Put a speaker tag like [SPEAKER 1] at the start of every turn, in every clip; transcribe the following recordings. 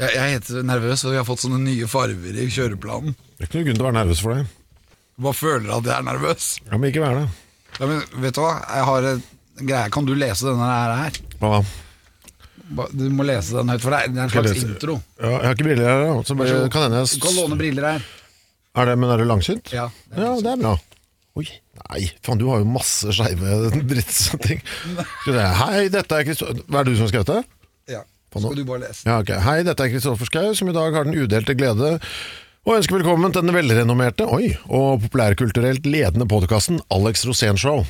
[SPEAKER 1] Jeg, jeg er helt nervøs, og jeg har fått sånne nye farver i kjøreplanen.
[SPEAKER 2] Det er ikke noe grunn til å være nervøs for det.
[SPEAKER 1] Hva føler at jeg er nervøs?
[SPEAKER 2] Ja, men ikke vær det.
[SPEAKER 1] Ja, men vet du hva, jeg har en greie. Kan du lese denne her? her?
[SPEAKER 2] Hva da?
[SPEAKER 1] Ba- Du må lese den høyt, for det er- det er en
[SPEAKER 2] Skal jeg
[SPEAKER 1] slags
[SPEAKER 2] lese?
[SPEAKER 1] intro.
[SPEAKER 2] Ja, jeg har ikke briller her, da. Så bare, kan hende
[SPEAKER 1] Du kan låne
[SPEAKER 2] jeg
[SPEAKER 1] briller her.
[SPEAKER 2] Er det, men er du langsynt?
[SPEAKER 1] Ja, det er
[SPEAKER 2] ja, det er bra. Oi. Nei, faen, du har jo masse skeive drittting. Skal vi se. Hei, dette er Kristoffer Hva er det du som har skrevet det?
[SPEAKER 1] Ja.
[SPEAKER 2] nå-
[SPEAKER 1] Skal du bare lese?
[SPEAKER 2] Ja, ok. Hei, dette er Kristoffer Schau, som i dag har den udelte glede å ønske velkommen til den velrenommerte oi, og populærkulturelt ledende podkasten Alex Rosén Show.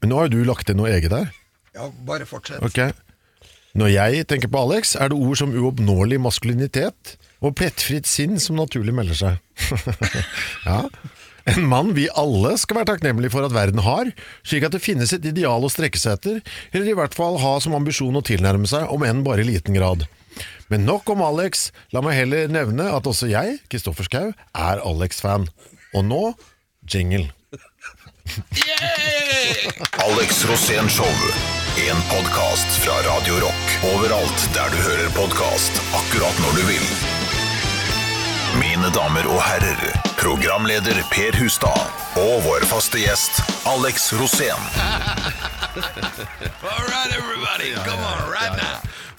[SPEAKER 2] Men nå har jo du lagt inn noe eget her.
[SPEAKER 1] Ja, bare fortsett.
[SPEAKER 2] Ok. Når jeg tenker på Alex, er det ord som uoppnåelig maskulinitet og plettfritt sinn som naturlig melder seg. ja. En mann vi alle skal være takknemlige for at verden har, slik at det finnes et ideal å strekke seg etter, eller i hvert fall ha som ambisjon å tilnærme seg, om enn bare i liten grad. Men nok om Alex, la meg heller nevne at også jeg, Kristoffer Schau, er Alex-fan. Og nå, jingle.
[SPEAKER 3] Alex Rosén Show. En podkast fra Radio Rock. Overalt der du hører podkast, akkurat når du vil. Mine damer og herrer, programleder Per Hustad og vår faste gjest Alex Rosén.
[SPEAKER 4] All right, everybody, come on right now.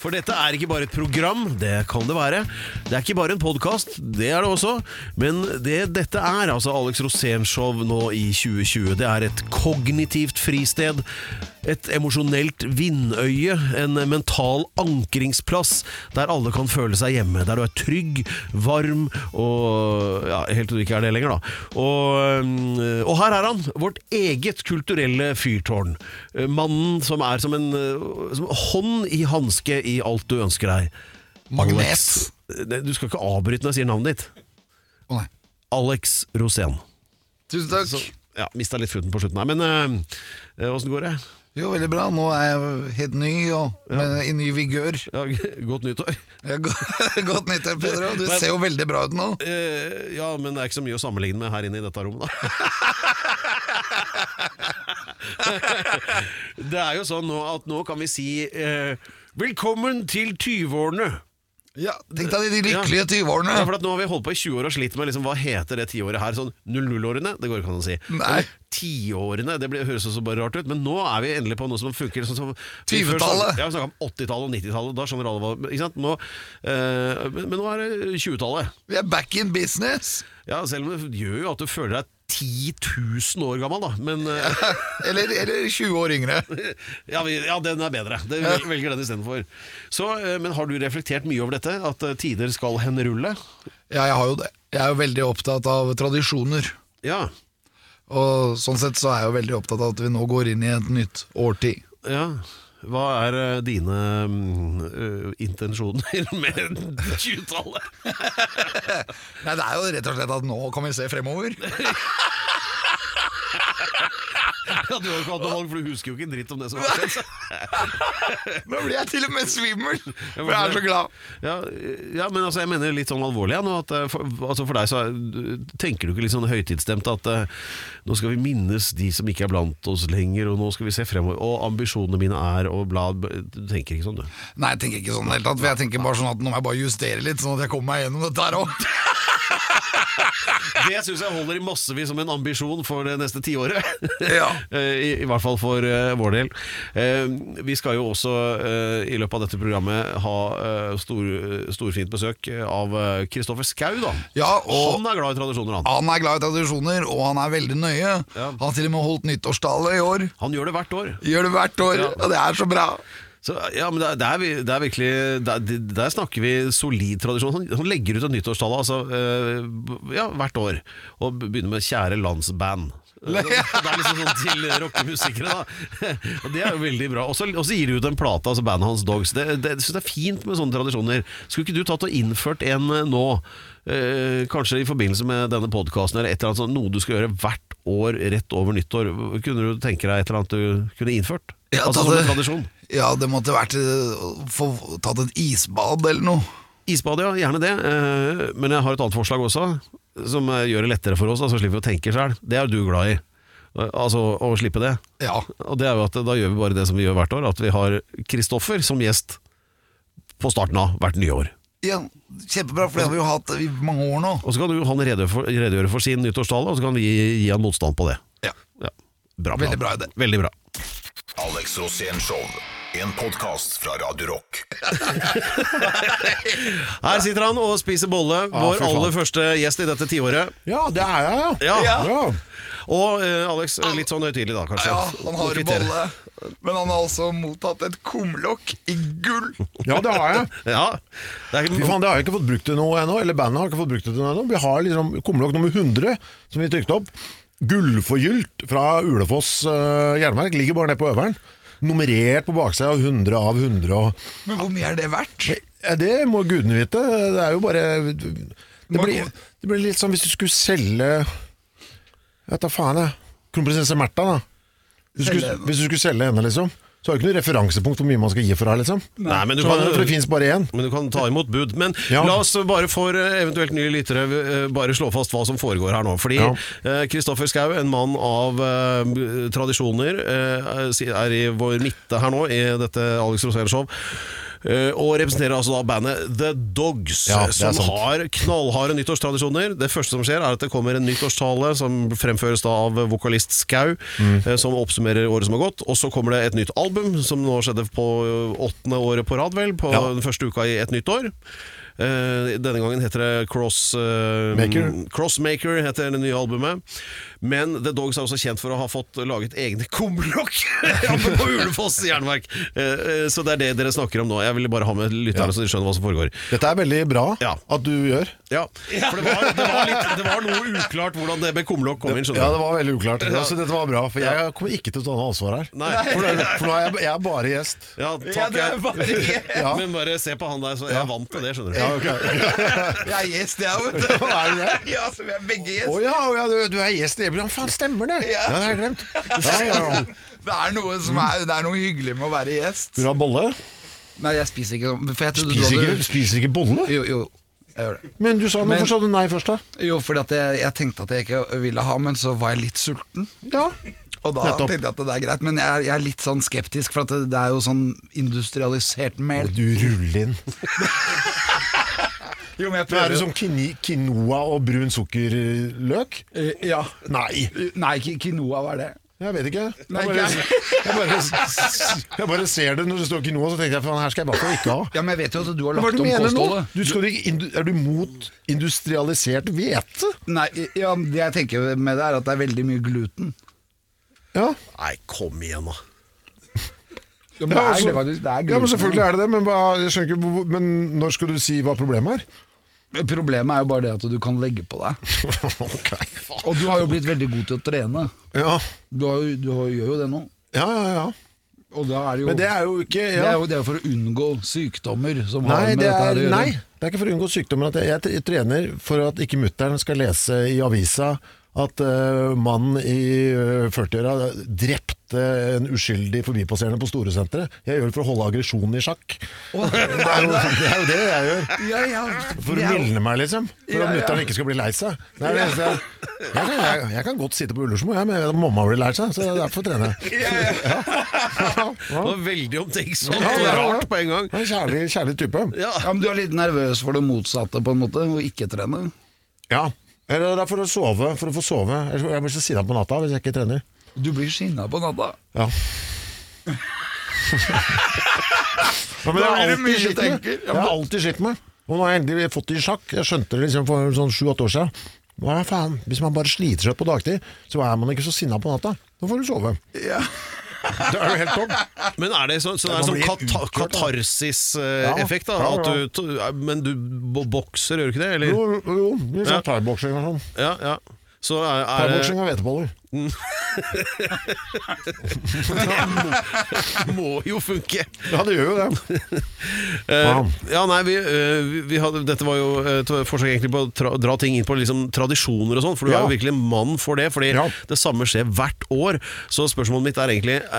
[SPEAKER 4] For dette er ikke bare et program, det kan det være. Det er ikke bare en podkast, det er det også. Men det dette er, altså Alex Rosén-show nå i 2020, det er et kognitivt fristed. Et emosjonelt vindøye, en mental ankringsplass der alle kan føle seg hjemme. Der du er trygg, varm og ja, helt til du ikke er det lenger, da. Og, mm, og her er han, vårt eget kulturelle fyrtårn. Eh, Mannen som er som en eh, som hånd i hanske i alt du ønsker deg.
[SPEAKER 1] Magnes.
[SPEAKER 4] Alex- Nei, Du skal ikke avbryte når jeg sier navnet ditt.
[SPEAKER 1] Å nei.
[SPEAKER 4] Alex Rosén.
[SPEAKER 1] Tusen takk.
[SPEAKER 4] Ja, Mista litt foten på slutten her, men åssen går det?
[SPEAKER 1] Jo, veldig bra. Nå er jeg helt ny og med, i ny vigør.
[SPEAKER 4] Ja, godt nyttår.
[SPEAKER 1] Ja, go- Godt nyttår, Pedro. Du
[SPEAKER 4] Men-
[SPEAKER 1] ser jo veldig bra ut nå.
[SPEAKER 4] Eh, ja, men det er ikke så mye å sammenligne med her inne i dette rommet, da. det er jo sånn nå at nå kan vi si eh, velkommen til 20-årene.
[SPEAKER 1] Ja, Tenk deg de
[SPEAKER 4] Ja.
[SPEAKER 1] lykkelige 20-årene.
[SPEAKER 4] Ja, for at nå har vi holdt på i 20 år og slitt med liksom, hva heter det tiåret her. Sånn 00-årene, det går ikke an å si.
[SPEAKER 1] Nei.
[SPEAKER 4] Eller Tiårene, det blir, høres også bare rart ut, men nå er vi endelig på noe som funker. Sånn som,
[SPEAKER 1] 20-tallet.
[SPEAKER 4] Ja, vi snakka om 80-tallet og 90-tallet, da skjønner alle hva Ikke sant? Nå, eh, men, men nå er det 20-tallet.
[SPEAKER 1] Vi er back in business.
[SPEAKER 4] Ja, selv om det gjør jo at du føler deg 10 000 år gammel, da. Men eh,
[SPEAKER 1] Eller, eller 20 år yngre.
[SPEAKER 4] ja, vi, ja den er bedre. Det, vi velger den istedenfor. Så, eh, Men har du reflektert mye over dette? At eh, tider skal henrulle?
[SPEAKER 1] Ja, jeg har jo det. Jeg er jo veldig opptatt av tradisjoner.
[SPEAKER 4] Ja.
[SPEAKER 1] Og sånn sett så er jeg jo veldig opptatt av at vi nå går inn i et nytt årtid.
[SPEAKER 4] ja. Hva er eh, dine mm, eh, intensjoner med 20-tallet?
[SPEAKER 1] Nei, det er jo rett og slett at nå kan vi se fremover.
[SPEAKER 4] Ja, du har jo ikke hatt noe valg, for du husker jo ikke en dritt om det som har skjedd.
[SPEAKER 1] Nå blir jeg til og med svimmel, for jeg er så glad.
[SPEAKER 4] Ja, ja, men altså, jeg mener litt sånn alvorlig ja, nå, at, eh, for, altså for deg så er- tenker du ikke litt sånn høytidsstemt at eh, nå skal vi minnes de som ikke er blant oss lenger, og nå skal vi se fremover, og ambisjonene mine er, og bla, bla Du tenker ikke sånn, du.
[SPEAKER 1] Nei, jeg tenker ikke sånn i det hele tatt. For jeg tenker bare sånn at nå må jeg bare justere litt, sånn at jeg kommer meg gjennom dette her òg.
[SPEAKER 4] Det syns jeg holder i massevis som en ambisjon for det neste tiåret.
[SPEAKER 1] Ja.
[SPEAKER 4] Eh, I, I hvert fall for eh, vår del. Eh, vi skal jo også eh, i løpet av dette programmet ha eh, stor, storfint besøk av eh, Kristoffer Skau, da.
[SPEAKER 1] Ja, og-
[SPEAKER 4] Han er glad i tradisjoner, han.
[SPEAKER 1] Han er glad i tradisjoner, og han er veldig nøye.
[SPEAKER 4] Ja.
[SPEAKER 1] Han har til og med holdt nyttårstallet i år.
[SPEAKER 4] Han gjør det hvert år.
[SPEAKER 1] Gjør det hvert år,
[SPEAKER 4] Ja.
[SPEAKER 1] og det er så bra.
[SPEAKER 4] Så, ja, men det er, det er, vi- det er virkelig der, der snakker vi solid tradisjon. Han, han legger ut et nyttårstall altså, eh, ja, hvert år, og begynner med 'Kjære landsband'. Det er liksom sånn til rockemusikere, da. Og det er jo veldig bra. Og så og så gir de ut en plate, altså bandet hans Dogs. Det, det, jeg synes det er fint med sånne tradisjoner. Skulle ikke du tatt og innført en eh, nå, eh, kanskje i forbindelse med denne podkasten, eller et eller annet sånt, noe du skal gjøre hvert år rett over nyttår? Kunne du tenke deg et eller annet du kunne innført?
[SPEAKER 1] Ja,
[SPEAKER 4] altså
[SPEAKER 1] tatt
[SPEAKER 4] som en
[SPEAKER 1] det-
[SPEAKER 4] tradisjon?
[SPEAKER 1] Ja, det måtte vært eh, å få tatt et isbad eller noe.
[SPEAKER 4] Isbad, ja. Gjerne det. Eh, Men jeg har et annet forslag også, som eh, gjør det lettere for oss. da, Så slipper vi å tenke sjøl. Det er du glad i. Eh, Altså å slippe det.
[SPEAKER 1] Ja.
[SPEAKER 4] Og det er jo at eh, da gjør vi bare det som vi gjør hvert år, at vi har Kristoffer som gjest på starten av hvert nye år.
[SPEAKER 1] Ja, kjempebra, for det har vi jo hatt i mange år nå.
[SPEAKER 4] Og så kan jo han redegjøre for, redegjøre for sin nyttårstale, og så kan vi gi, gi han motstand på det.
[SPEAKER 1] Ja.
[SPEAKER 4] Ja. Bra plan.
[SPEAKER 1] Veldig bra idé.
[SPEAKER 4] Veldig bra.
[SPEAKER 3] Alex Rosén Show. En podkast fra Radio Rock.
[SPEAKER 4] Her sitter han og spiser bolle,
[SPEAKER 2] fy
[SPEAKER 4] vår
[SPEAKER 2] faen.
[SPEAKER 4] aller første gjest i dette tiåret.
[SPEAKER 2] Ja, det er jeg,
[SPEAKER 4] Ja.
[SPEAKER 2] ja.
[SPEAKER 4] Og eh, Alex, litt sånn høytidelig da, kanskje.
[SPEAKER 1] Ah. Ja, han har
[SPEAKER 4] Å kvittere.
[SPEAKER 1] bolle, men han har altså mottatt et kumlokk i gull.
[SPEAKER 2] Ja, det har jeg.
[SPEAKER 4] Ja. Det
[SPEAKER 2] Fy
[SPEAKER 4] er,
[SPEAKER 2] faen, det har jeg ikke fått brukt til noe ennå, eller bandet har ikke fått brukt det til noe ennå. Vi har liksom kumlokk nummer 100, som vi trykte opp. Gullforgylt fra Ulefoss uh, jernverk, ligger bare nede på øveren. Nummerert på baksida, 100 av 100 og
[SPEAKER 1] Men hvor mye er det verdt?
[SPEAKER 2] Ja, Det må gudene vite. Det er jo bare Det blir, det blir litt sånn hvis du skulle selge Jeg vet da faen, jeg. Kronprinsesse Märtha, da. Hvis du, skulle,
[SPEAKER 1] Selge-
[SPEAKER 2] hvis du skulle selge henne, liksom. Så har du ikke noe referansepunkt hvor mye man skal gi for henne, liksom.
[SPEAKER 4] nei, men du
[SPEAKER 2] Så,
[SPEAKER 4] kan
[SPEAKER 2] for det fins bare én.
[SPEAKER 4] Men du kan ta imot bud. Men
[SPEAKER 2] Ja.
[SPEAKER 4] la oss bare for eh, eventuelt nye lyttere eh, bare slå fast hva som foregår her nå. Fordi
[SPEAKER 2] Ja.
[SPEAKER 4] eh, Kristoffer Schau, en mann av eh, tradisjoner, eh, si- er i vår midte her nå i dette Alex Rosén-show. eh, og representerer altså da bandet The Dogs,
[SPEAKER 2] Ja, det er
[SPEAKER 4] som
[SPEAKER 2] sant.
[SPEAKER 4] har knallharde nyttårstradisjoner. Det første som skjer, er at det kommer en nyttårstale som fremføres da av vokalist Skau,
[SPEAKER 2] Mm.
[SPEAKER 4] eh, som oppsummerer året som har gått. Og så kommer det et nytt album, som nå skjedde på eh, åttende året på rad, vel, på
[SPEAKER 2] Ja.
[SPEAKER 4] den første uka i et nytt år. Eh, denne gangen heter det Cross, eh,
[SPEAKER 2] Maker.
[SPEAKER 4] Crossmaker, heter det nye albumet. Men The Dogs er også kjent for å ha fått laget egne kumlokk Ja, men på Ulefoss jernverk. Eh, eh, så det er det dere snakker om nå. Jeg ville bare ha med lytterne, så de skjønner hva som foregår.
[SPEAKER 2] Dette er veldig bra
[SPEAKER 4] Ja.
[SPEAKER 2] at du gjør.
[SPEAKER 4] Ja, for det var, det var, litt, det var noe uklart hvordan det med kumlokk kom inn,
[SPEAKER 2] Ja,
[SPEAKER 4] skjønner
[SPEAKER 2] det
[SPEAKER 4] du.
[SPEAKER 2] var veldig uklart. Altså, dette var bra, for jeg kommer ikke til å ta noe ansvar her.
[SPEAKER 4] Nei.
[SPEAKER 2] For, for nå er jeg, jeg er bare gjest.
[SPEAKER 1] Ja,
[SPEAKER 4] Ja, takk.
[SPEAKER 1] det er
[SPEAKER 4] Jeg.
[SPEAKER 1] bare Jeg
[SPEAKER 2] Ja.
[SPEAKER 4] Men bare se på han der, så jeg er vant til det, skjønner du.
[SPEAKER 2] Ja, ok.
[SPEAKER 1] er gjest, jeg òg, vet du.
[SPEAKER 2] Er du det?
[SPEAKER 1] Ja, så vi er begge
[SPEAKER 2] Å
[SPEAKER 1] gjest.
[SPEAKER 2] ja, å ja, du, du er gjest i Ebron. Faen, stemmer det! Ja,
[SPEAKER 1] Ja.
[SPEAKER 2] det har jeg glemt. Ja, ja, ja.
[SPEAKER 1] Det er, noe som er, det er noe hyggelig med å være gjest.
[SPEAKER 2] Vil du ha bolle?
[SPEAKER 1] Nei, jeg spiser ikke sånn. For jeg trodde
[SPEAKER 2] Spiser
[SPEAKER 1] du
[SPEAKER 2] ikke,
[SPEAKER 1] hadde
[SPEAKER 2] spiser ikke bolle?
[SPEAKER 1] Jo, jo. Jeg gjør det.
[SPEAKER 2] Men du sa
[SPEAKER 1] Men-
[SPEAKER 2] Hvorfor sa du nei først, da?
[SPEAKER 1] Jo, fordi at jeg, jeg tenkte at jeg ikke ville ha, men så var jeg litt sulten.
[SPEAKER 2] Ja.
[SPEAKER 1] Og da
[SPEAKER 2] Nettopp.
[SPEAKER 1] tenkte jeg at det er greit, men jeg er, jeg er litt sånn skeptisk, for at det, det er jo sånn industrialisert mel.
[SPEAKER 2] Du ruller inn.
[SPEAKER 1] Jo, men jeg
[SPEAKER 2] Er det
[SPEAKER 1] jo.
[SPEAKER 2] som kini- quinoa og brun sukkerløk?
[SPEAKER 1] Eh, Ja.
[SPEAKER 2] Nei.
[SPEAKER 1] Nei, ki- quinoa var det.
[SPEAKER 2] Jeg vet ikke. Jeg
[SPEAKER 1] Nei,
[SPEAKER 2] bare, jeg bare, jeg bare ser det når det står quinoa, så tenker jeg faen, her skal jeg bare ikke ha.
[SPEAKER 1] Ja, men jeg vet jo at du har
[SPEAKER 2] Hva er
[SPEAKER 1] lagt
[SPEAKER 2] det du
[SPEAKER 1] om
[SPEAKER 2] mener nå?
[SPEAKER 1] kostholdet.
[SPEAKER 2] Du skal ikke, indu- er du mot industrialisert hvete?
[SPEAKER 1] Nei, ja, det jeg tenker med det er at det er veldig mye gluten.
[SPEAKER 2] Ja,
[SPEAKER 4] Nei, kom igjen, da.
[SPEAKER 1] Ja,
[SPEAKER 2] ja,
[SPEAKER 1] det,
[SPEAKER 2] også-
[SPEAKER 1] er, faktisk- det er gluten.
[SPEAKER 2] altså- ja men selvfølgelig er det det. Men, hva- jeg skjønner ikke, hvor- men når skal du si hva problemet er?
[SPEAKER 1] Problemet er jo bare det at du kan legge på deg.
[SPEAKER 2] ok, faen.
[SPEAKER 1] Og du har jo blitt veldig god til å trene.
[SPEAKER 2] Ja.
[SPEAKER 1] Du, har, jo- du har, gjør jo det nå.
[SPEAKER 2] ja, ja, ja.
[SPEAKER 1] Og da er det jo
[SPEAKER 2] Men det er jo ikke
[SPEAKER 1] det er
[SPEAKER 2] ja.
[SPEAKER 1] jo det er for å unngå sykdommer som har
[SPEAKER 2] Nei,
[SPEAKER 1] med
[SPEAKER 2] det
[SPEAKER 1] dette
[SPEAKER 2] er,
[SPEAKER 1] her å gjøre.
[SPEAKER 2] nei, det er ikke for å unngå sykdommer. At jeg, jeg t- trener for at ikke mutter'n skal lese i avisa at eh, mannen i eh, 40-åra drepte en uskyldig forbipasserende på Storesenteret. Jeg gjør det for å holde aggresjonen i sjakk. Det er, jo, det er jo det jeg gjør.
[SPEAKER 1] Ja, ja,
[SPEAKER 2] For
[SPEAKER 1] det er
[SPEAKER 2] å
[SPEAKER 1] jo-
[SPEAKER 2] mildne meg, liksom. For
[SPEAKER 1] Ja,
[SPEAKER 2] at
[SPEAKER 1] ja.
[SPEAKER 2] mutter'n ikke skal bli lei seg. Det er det eneste jeg, jeg, kan, jeg, jeg kan godt sitte på Ullersmo, jeg, men jeg vet at mamma blir lei seg, så det er derfor jeg trener.
[SPEAKER 4] Det var veldig omtenksomt
[SPEAKER 2] Ja, ja,
[SPEAKER 4] og
[SPEAKER 2] ja.
[SPEAKER 4] rart på en gang.
[SPEAKER 2] Jeg er en Kjærlig, kjærlig type.
[SPEAKER 4] Ja.
[SPEAKER 1] Ja, men Du er litt nervøs for det motsatte, på en måte, å ikke trene.
[SPEAKER 2] Ja. Eller det er for å sove, for å få sove. Ellers- Jeg blir så sinna på natta hvis jeg ikke trener.
[SPEAKER 1] Du blir skinna på natta.
[SPEAKER 2] Ja. ja men
[SPEAKER 1] Da
[SPEAKER 2] jeg har
[SPEAKER 1] blir det mye
[SPEAKER 2] alltid slitt med.
[SPEAKER 1] tenker. Ja,
[SPEAKER 2] Jeg har alltid slitt med. Og nå har jeg endelig fått det i sjakk. Jeg skjønte det liksom for sånn sju-åtte år siden. Hva er faen? Hvis man bare sliter seg ut på dagtid, så er man ikke så sinna på natta. Da får du sove.
[SPEAKER 1] Ja.
[SPEAKER 2] Det er jo helt topp.
[SPEAKER 4] Men er det sånn, sånn,
[SPEAKER 2] Man
[SPEAKER 4] er det sånn
[SPEAKER 2] blir
[SPEAKER 4] kata
[SPEAKER 2] utkjørt, da. Ja,
[SPEAKER 4] katarsis-effekt, da?
[SPEAKER 2] ja, ja.
[SPEAKER 4] At du, to- men du bo- bokser, gjør du ikke det? Eller?
[SPEAKER 2] Jo, jo, jo. Vi sa thaiboksing og sånn.
[SPEAKER 4] Ja, ja. Så er, er
[SPEAKER 2] Thaiboksing og hveteboller.
[SPEAKER 4] det må jo funke!
[SPEAKER 2] Ja, det gjør jo det.
[SPEAKER 4] Eh,
[SPEAKER 2] Wow.
[SPEAKER 4] ja, nei, vi, eh, vi, vi hadde, dette var jo eh, et forsøk egentlig på å tra, dra ting inn på liksom, tradisjoner og sånn, for du er
[SPEAKER 2] Ja.
[SPEAKER 4] jo virkelig en mann for det, fordi
[SPEAKER 2] Ja.
[SPEAKER 4] det samme skjer hvert år. Så spørsmålet mitt er egentlig, eh,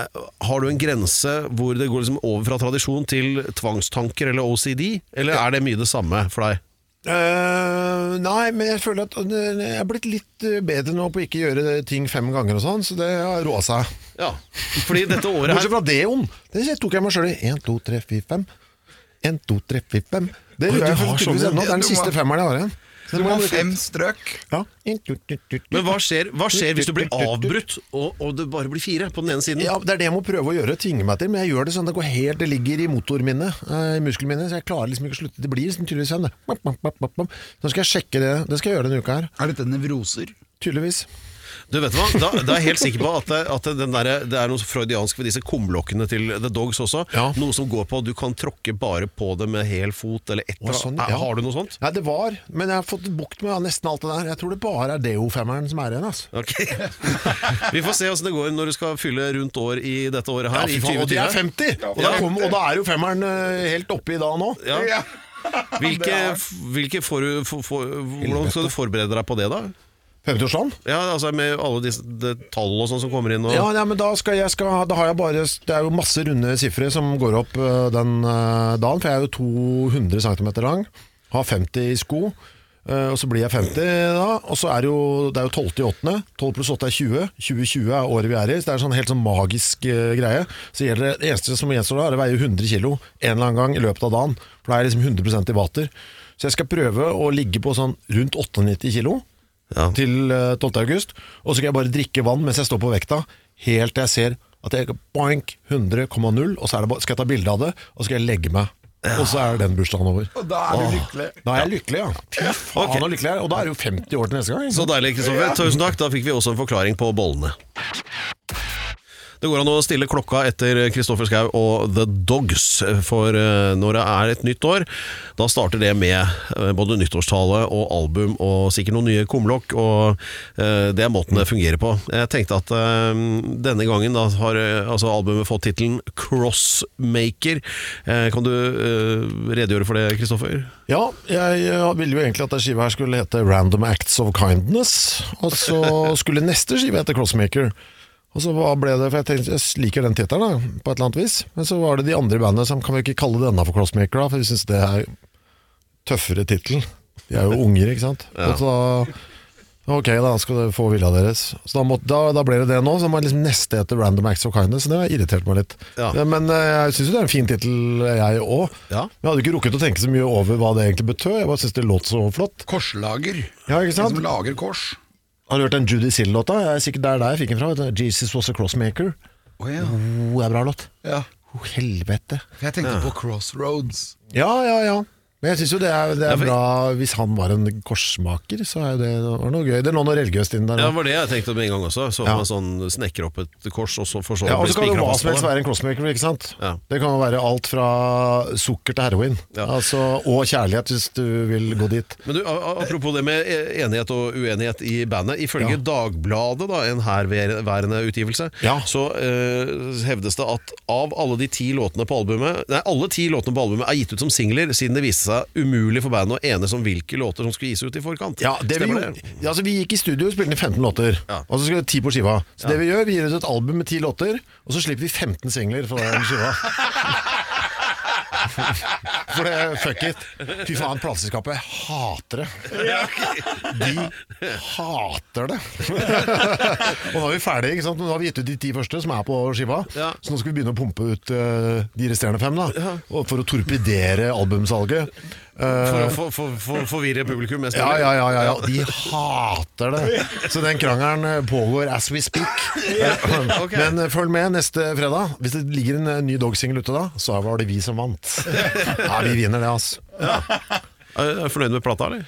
[SPEAKER 4] har du en grense hvor det går liksom over fra tradisjon til tvangstanker eller OCD, eller er det mye det samme for deg?
[SPEAKER 2] Eh, nei, men jeg føler at eh, jeg er blitt litt eh, bedre nå på ikke gjøre ting fem ganger og sånn, så det har roa seg.
[SPEAKER 4] Ja, fordi dette året her
[SPEAKER 2] Bortsett fra Deon. Det tok jeg meg sjøl i. Én, to, tre, fire, fem. En, to, tre, fire, fem. Det
[SPEAKER 4] Oi,
[SPEAKER 2] gjør
[SPEAKER 4] du
[SPEAKER 2] jeg
[SPEAKER 4] har sånn,
[SPEAKER 2] tydeligvis
[SPEAKER 4] ja.
[SPEAKER 2] ennå. Det er
[SPEAKER 1] Du
[SPEAKER 2] den siste
[SPEAKER 1] må-
[SPEAKER 2] femmeren jeg har igjen.
[SPEAKER 1] Så du må ha fem strøk.
[SPEAKER 2] Ja. En, to, tre, tre, tre.
[SPEAKER 4] Men hva skjer, hva skjer hvis du blir avbrutt, og, og det bare blir fire på den ene siden?
[SPEAKER 2] Ja, det er det jeg må prøve å gjøre, tvinge meg til. Men jeg gjør det sånn, det går helt, det ligger i motoren mine, eh, i musklene mine, så jeg klarer liksom ikke å slutte. Det blir liksom tydeligvis sånn, det. Bap, bap, bap, bap, bap. Så skal jeg sjekke det, det skal jeg gjøre denne uka her,
[SPEAKER 1] Er dette nevroser?
[SPEAKER 2] tydeligvis.
[SPEAKER 4] Du vet du hva, da, da er jeg helt sikker på at, det, at den der, det er noe freudiansk ved disse kumlokkene til The Dogs også.
[SPEAKER 2] Ja.
[SPEAKER 4] Noe som går på at du kan tråkke bare på det med hel fot eller et
[SPEAKER 2] Å,
[SPEAKER 4] eller
[SPEAKER 2] sånn,
[SPEAKER 4] annet.
[SPEAKER 2] ja.
[SPEAKER 4] Har du noe sånt?
[SPEAKER 2] Nei, det var, men jeg har fått bukt med ja, nesten alt det der. Jeg tror det bare er Deo-femmeren som er igjen, altså.
[SPEAKER 4] Ok. Vi får se åssen det går når du skal fylle rundt år i dette året her. i
[SPEAKER 2] fy faen, og de er
[SPEAKER 4] 2020.
[SPEAKER 2] 50! Og da,
[SPEAKER 4] Ja.
[SPEAKER 2] kom, og da er jo femmeren eh, helt oppe i dag nå.
[SPEAKER 4] Ja. Hvilke, hvilke får du, får- får- hvordan skal du forberede deg på det, da?
[SPEAKER 2] 50-årsdagen?
[SPEAKER 4] Ja, altså Med alle disse det, tall og sånn som kommer inn? Og,
[SPEAKER 2] Ja, nei, men da, skal jeg, skal, da har jeg bare Det er jo masse runde sifre som går opp øh, den øh, dagen, for jeg er jo 200 cm lang, har 50 i sko, øh, og så blir jeg 50 da, og så er det jo, det er jo 12 til 8. 12 pluss 8 er 20. 2020 er året vi er i, så det er en sånn helt sånn magisk øh, greie. Så gjelder det, det eneste som gjenstår da, er å veie 100 kg en eller annen gang i løpet av dagen, for da er jeg liksom 100 i vater. Så jeg skal prøve å ligge på sånn rundt 98 kg
[SPEAKER 4] Ja.
[SPEAKER 2] til eh, 12. august, og så kan jeg bare drikke vann mens jeg står på vekta, helt til jeg ser at jeg boink, 100,0, og så er det, bare- skal jeg ta bilde av det, og så skal jeg legge meg. Og så er den bursdagen over.
[SPEAKER 1] Og da er du lykkelig.
[SPEAKER 2] Da er jeg lykkelig, ja. Fy faen,
[SPEAKER 4] Ok.
[SPEAKER 2] så lykkelig jeg er. Og da er det jo 50 år til neste gang. ikke
[SPEAKER 4] Så
[SPEAKER 2] sant?
[SPEAKER 4] deilig, Kristoffer. Tusen takk. Da fikk vi også en forklaring på bollene. Det går an å stille klokka etter Kristoffer Schau og The Dogs, for eh, når det er et nytt år, da starter det med eh, både nyttårstale og album og sikkert noen nye kumlokk, og eh, det er måten det fungerer på. Jeg tenkte at eh, denne gangen da har eh, altså albumet fått tittelen Crossmaker. Eh, Kan du eh, redegjøre for det, Kristoffer?
[SPEAKER 2] Ja, jeg eh, ville jo egentlig at den skiva her skulle hete Random Acts of Kindness, og så skulle neste skive hete Crossmaker. Og så hva ble det, for jeg tenkte, jeg liker den tittelen da, på et eller annet vis. Men så var det de andre bandene som, kan vi ikke kalle denne for Crossmaker da, for vi synes det er tøffere tittel. De er jo unger, ikke sant? Og så da, ok da, skal dere få vilja deres. Så da, må, da, da ble det det nå, så må jeg liksom neste etter Random Acts of Kindness, så det har irritert meg litt.
[SPEAKER 4] Ja.
[SPEAKER 2] Men eh, jeg synes jo det er en fin titel jeg også.
[SPEAKER 4] Ja.
[SPEAKER 2] Jeg hadde ikke rukket å tenke så mye over hva det egentlig betød, jeg bare syntes det låt så flott.
[SPEAKER 1] Korslager.
[SPEAKER 2] Ja, ikke sant?
[SPEAKER 1] En som lager kors.
[SPEAKER 2] Har du hørt den Judy Sill-låta? Jeg er sikkert der der jeg fikk den fra, vet du. Jesus was a crossmaker.
[SPEAKER 1] Å ja.
[SPEAKER 2] Oh, det er bra låt.
[SPEAKER 1] ja.
[SPEAKER 2] Oh, helvete.
[SPEAKER 1] For jeg tenkte på Crossroads.
[SPEAKER 2] Ja, ja, ja. Men jeg syns jo det er, det
[SPEAKER 4] Ja,
[SPEAKER 2] er
[SPEAKER 4] for-
[SPEAKER 2] bra hvis han var en korsmaker, så er jo det, det var noe gøy. Det lå noe religiøst inn der.
[SPEAKER 4] Ja,
[SPEAKER 2] da.
[SPEAKER 4] det var det jeg tenkte med en gang også. Så
[SPEAKER 2] Ja.
[SPEAKER 4] man sånn snekker opp et kors, og så for så
[SPEAKER 2] Ja,
[SPEAKER 4] å
[SPEAKER 2] og
[SPEAKER 4] bli
[SPEAKER 2] så kan jo
[SPEAKER 4] spikret
[SPEAKER 2] hva
[SPEAKER 4] fast
[SPEAKER 2] som
[SPEAKER 4] på
[SPEAKER 2] helst
[SPEAKER 4] det.
[SPEAKER 2] være en crossmaker, ikke sant?
[SPEAKER 4] Ja.
[SPEAKER 2] Det kan jo være alt fra sukker til heroin.
[SPEAKER 4] Ja.
[SPEAKER 2] Altså, og kjærlighet, hvis du vil gå dit.
[SPEAKER 4] Men du, a- a- Apropos det med e- enighet og uenighet i bandet. Ifølge
[SPEAKER 2] Ja.
[SPEAKER 4] Dagbladet, da, en herværende utgivelse,
[SPEAKER 2] Ja.
[SPEAKER 4] så eh, hevdes det at av alle de ti låtene på albumet Nei, alle ti låtene på albumet er gitt ut som singler, siden det viste seg umulig for bandet å enes om hvilke låter som skulle gis ut i forkant.
[SPEAKER 2] Ja, det vi,
[SPEAKER 4] Stemmer
[SPEAKER 2] gjorde, ja, altså, vi gikk i studio og spilte inn 15 låter,
[SPEAKER 4] Ja.
[SPEAKER 2] og så skulle det 10 på skiva. Så det vi gjør, vi gir ut et album med 10 låter, og så slipper vi 15 singler fra den skiva. For det fuck it. Fy faen, plateselskapet hater det. De hater det. og nå er vi ferdige, ikke sant? Nå har vi gitt ut de ti første som er på skiva,
[SPEAKER 4] Ja.
[SPEAKER 2] så nå skal vi begynne å pumpe ut eh, de resterende fem, da. Og for å torpedere albumsalget. Eh,
[SPEAKER 4] For å for, for, for, forvirre publikum mest
[SPEAKER 2] ja,
[SPEAKER 4] mulig.
[SPEAKER 2] ja, ja, ja, ja. De hater det. Så den krangelen eh, pågår as we speak.
[SPEAKER 4] ok.
[SPEAKER 2] Men eh, følg med neste fredag. Hvis det ligger en eh, ny Dog-singel ute da, så var det vi som vant. Ja, vi vinner det, altså.
[SPEAKER 4] Er du fornøyd med plata, eller?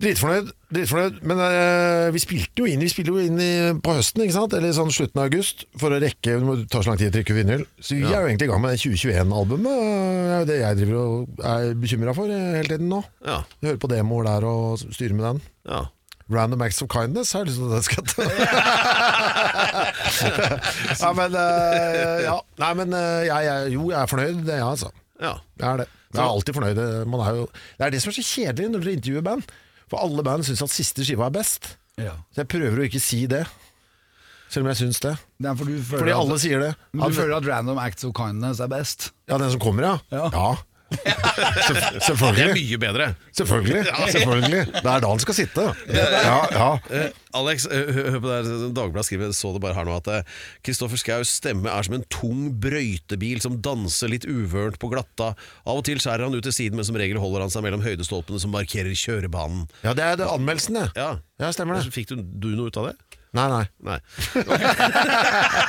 [SPEAKER 2] Dritfornøyd, dritfornøyd. Men eh, vi spilte jo inn Vi spiller jo inn i, på høsten, ikke sant? Eller sånn slutten av august, for å rekke Det må ta så lang tid å trykke vinyl. Så vi er jo egentlig i gang med 2021-albumet. Det er jo det jeg driver og er bekymra for eh, hele tiden nå.
[SPEAKER 4] Ja.
[SPEAKER 2] Hører på demoer der og styrer med den.
[SPEAKER 4] ja.
[SPEAKER 2] Random acts of kindness har jeg lyst til at jeg skal ta. ja, men, eh, ja. Nei, men eh, jeg, jeg, jo, jeg er fornøyd, det er jeg, altså.
[SPEAKER 4] ja.
[SPEAKER 2] Jeg er det. Jeg er alltid fornøyd. Man er jo, det er det som er så kjedelig når dere intervjuer band. For alle band syns at siste skiva er best.
[SPEAKER 1] Ja.
[SPEAKER 2] Så jeg prøver å ikke si det. Selv om jeg syns det.
[SPEAKER 1] Nei, for du føler
[SPEAKER 2] Fordi
[SPEAKER 1] at-
[SPEAKER 2] alle sier det.
[SPEAKER 1] Men du føler at Random Acts of Kindness er best?
[SPEAKER 2] Ja, den som kommer, ja.
[SPEAKER 1] Ja.
[SPEAKER 2] ja. Selv-
[SPEAKER 4] Det er
[SPEAKER 2] Selvfølgelig.
[SPEAKER 4] mye bedre.
[SPEAKER 2] Selvfølgelig. Selvfølgelig. Det er da han skal sitte. Ja, ja.
[SPEAKER 4] Eh, Alex, eh, hø- hør på det her Dagbladet skriver, så det bare her nå at eh, Kristoffer Schous stemme er som en tung brøytebil som danser litt uvørent på glatta. Av og til skjærer han ut til siden, men som regel holder han seg mellom høydestolpene som markerer kjørebanen.
[SPEAKER 2] ja, det er det anmeldelsen, det.
[SPEAKER 4] Ja,
[SPEAKER 2] Ja, stemmer det.
[SPEAKER 4] Fikk du, du noe ut av det?
[SPEAKER 2] Nei, nei.
[SPEAKER 4] Nei.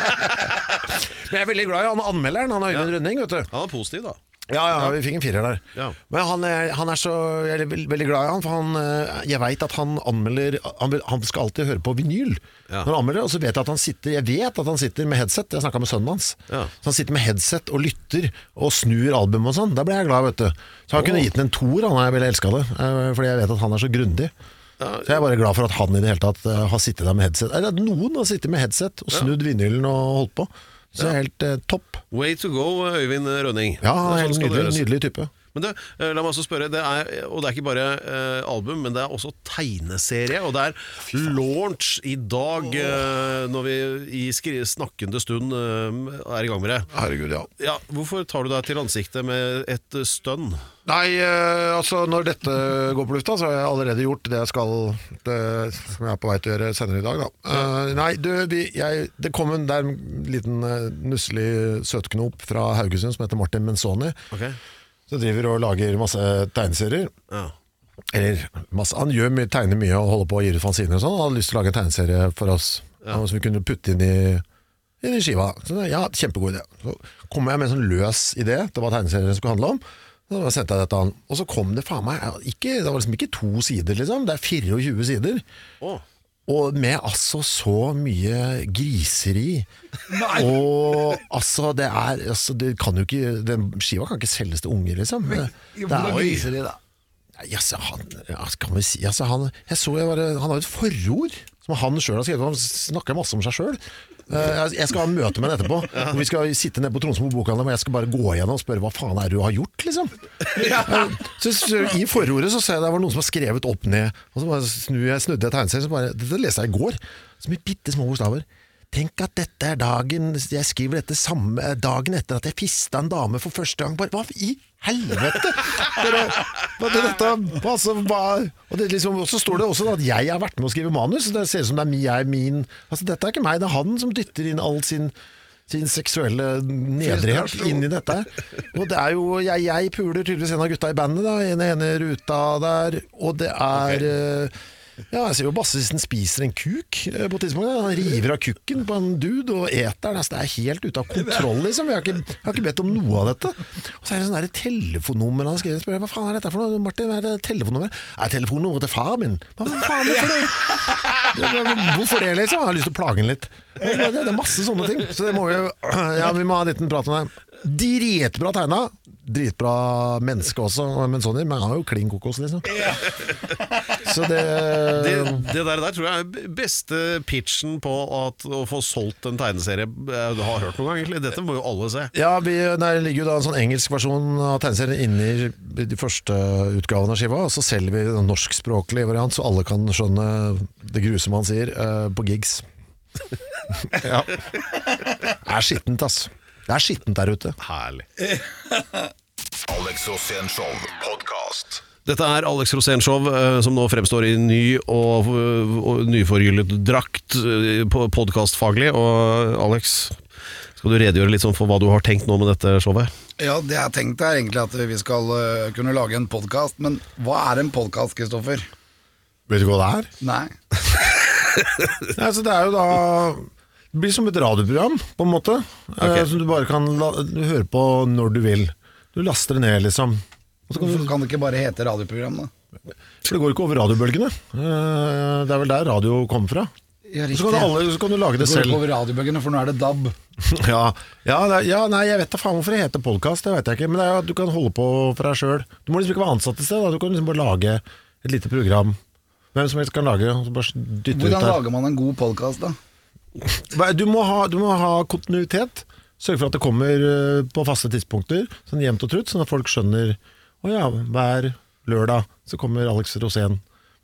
[SPEAKER 2] Men jeg er veldig glad i han anmelderen, han Øyvind Rønning, vet du.
[SPEAKER 4] Han er positiv, da.
[SPEAKER 2] Ja, ja, vi fikk en firer der.
[SPEAKER 4] Ja.
[SPEAKER 2] Men han er, han er så Jeg er vel- veldig glad i han, for han, eh, jeg veit at han anmelder Han, vil- han skal alltid høre på vinyl
[SPEAKER 4] Ja.
[SPEAKER 2] når han anmelder, og så vet jeg at han sitter Jeg vet at han sitter med headset. Jeg snakka med sønnen hans.
[SPEAKER 4] Ja.
[SPEAKER 2] Så han sitter med headset og lytter og snur album og sånn. Da ble jeg glad, vet du. Så han kunne gitt den en toer, han jeg ville elska det. eh, Fordi jeg vet at han er så grundig. Så jeg er bare glad for at han i det hele tatt eh, har sittet der med headset. Eller at noen har sittet med headset og snudd vinylen og holdt på. Så det er helt eh, topp.
[SPEAKER 4] Way to go, Øyvind Rønning.
[SPEAKER 2] Ja, han er
[SPEAKER 4] Sånn
[SPEAKER 2] helt
[SPEAKER 4] skal det
[SPEAKER 2] nydelig,
[SPEAKER 4] gjøres.
[SPEAKER 2] nydelig type.
[SPEAKER 4] Men du, eh, la meg også spørre, det er, og det er ikke bare eh, album, men det er også tegneserie, og det er launch i dag, eh, når vi i skri snakkende stund eh, er i gang med det.
[SPEAKER 2] Herregud, ja.
[SPEAKER 4] Ja, hvorfor tar du deg til ansiktet med et eh, stønn?
[SPEAKER 2] Nei, eh, altså når dette går på lufta, så har jeg allerede gjort det jeg skal det, Som jeg er på vei til å gjøre senere i dag, da. Eh, nei, du, vi, jeg, det kom en, det er en liten eh, nusselig søtknop fra Haugesund som heter Martin Menzoni.
[SPEAKER 4] Ok.
[SPEAKER 2] Som driver og lager masse tegneserier.
[SPEAKER 4] Ja.
[SPEAKER 2] Eller masse, Han gjør mye, tegner mye og holder på å gi ut fanziner og sånn. Han hadde lyst til å lage en tegneserie for oss eh, som vi kunne putte inn i, inn i skiva. Så det- ja, Kjempegod idé. Så kom jeg med en sånn løs idé til hva tegneserien skulle handle om. Så da sendte jeg det til han. Og så kom det faen meg ja, ikke, Det var liksom ikke to sider, liksom. Det er 24 sider.
[SPEAKER 4] Å,
[SPEAKER 2] Og med altså så mye griseri. Og altså, det er altså, Det kan jo ikke den Skiva kan ikke selges til unge, liksom. Det er,
[SPEAKER 1] Hvordan viser de det?
[SPEAKER 2] Nei, Altså, han, ja, kan vi si, altså, han, jeg så jeg bare, han har et forord som han sjøl har skrevet. Han snakker masse om seg sjøl. Jeg jeg skal ha møte med ham etterpå. Og vi skal sitte nede på Tromsø på bokhandel, og jeg skal bare gå igjennom og spørre hva faen er det du har gjort, liksom. Eh, Så, så, I forordet så ser jeg det var noen som har skrevet opp ned, og så bare snur jeg, snudde jeg tegneserien, så bare Dette leste jeg i går. Så med bitte små bokstaver. Tenk at dette er dagen Jeg skriver dette samme eh, dagen etter at jeg fista en dame for første gang. Bare, hva i helvete?! Dere, hva, det, dette, altså, hva, og det liksom, og så står det også da at jeg har vært med å skrive manus. så Det ser ut som det er min, jeg, min altså, Dette er ikke meg, det er han som dytter inn all sin sin seksuelle nedrighet inn i dette. Og det er jo Jeg, jeg puler tydeligvis en av gutta i bandet, da. I den ene ruta der. Og det er eh, ja, jeg ser jo bassisten spiser en kuk eh, på et tidspunkt. Han river av kukken på en dude og eter den. Altså, det er helt ute av kontroll, liksom. Jeg har ikke, jeg har ikke bedt om noe av dette. Og så er det sånn der telefonnummer han skriver. Spør, jeg, hva faen er dette for noe? Martin, hva er det telefonnummer? Er telefonnummeret til far min? Hva faen er det for noe? Hvorfor det, liksom? Jeg har lyst til å plage den litt. Det er masse sånne ting. Så det må vi, ja, vi må ha en liten prat om det. Dritbra tegna. Dritbra menneske også, men sånn, men han er jo klin kokos, liksom. Så det,
[SPEAKER 4] det,
[SPEAKER 2] Um.
[SPEAKER 4] det der, der tror jeg er b- beste pitchen på at, å få solgt en tegneserie eh, du har hørt noen gang, egentlig. Dette må jo alle se.
[SPEAKER 2] Ja, vi, der ligger jo da en sånn engelsk versjon av tegneserien inni de første utgavene av skiva, og så selger vi en norskspråklig variant, så alle kan skjønne det grusomme han sier, eh, på gigs. ja. Det er skittent, ass. Det er skittent der ute.
[SPEAKER 4] Herlig.
[SPEAKER 3] Alex Rosén Show podcast.
[SPEAKER 4] Dette er Alex Rosénshow, eh, som nå fremstår i ny og, eh, og nyforgyllet drakt eh, på- podcastfaglig. Og eh, Alex, skal du redegjøre litt sånn for hva du har tenkt nå med dette showet?
[SPEAKER 1] Ja, det jeg tenkte er egentlig at vi skal øh, kunne lage en podkast, men hva er en podkast, Kristoffer?
[SPEAKER 2] Vet du hva det er?
[SPEAKER 1] Nei.
[SPEAKER 2] Nei, altså det er jo da Det blir som et radioprogram, på en måte. eh, Som du bare kan la, høre på når du vil. Du laster det ned, liksom. Og så kan du
[SPEAKER 1] Hvorfor kan det ikke bare hete radioprogram, da?
[SPEAKER 2] For det går ikke over radiobølgene. Eh, Det er vel der radio kommer fra.
[SPEAKER 1] Ja,
[SPEAKER 2] så, kan du alle, så kan du lage det,
[SPEAKER 1] Det går
[SPEAKER 2] selv.
[SPEAKER 1] ikke over radiobøkene, for nå er det DAB.
[SPEAKER 2] ja, ja, det er, ja, nei, jeg vet da faen hvorfor det heter podkast, det vet jeg ikke. Men det er jo at du kan holde på for deg sjøl. Du må liksom ikke være ansatt et sted. Da. Du kan liksom bare lage et lite program. Hvem som helst kan lage og så bare dytte
[SPEAKER 1] Hvordan
[SPEAKER 2] ut der.
[SPEAKER 1] lager man en god podkast, da?
[SPEAKER 2] Hva- Du må, ha, du må ha kontinuitet. Sørge for at det kommer eh, på faste tidspunkter, sånn jevnt og trutt, sånn at folk skjønner Å ja, hver lørdag så kommer Alex Rosén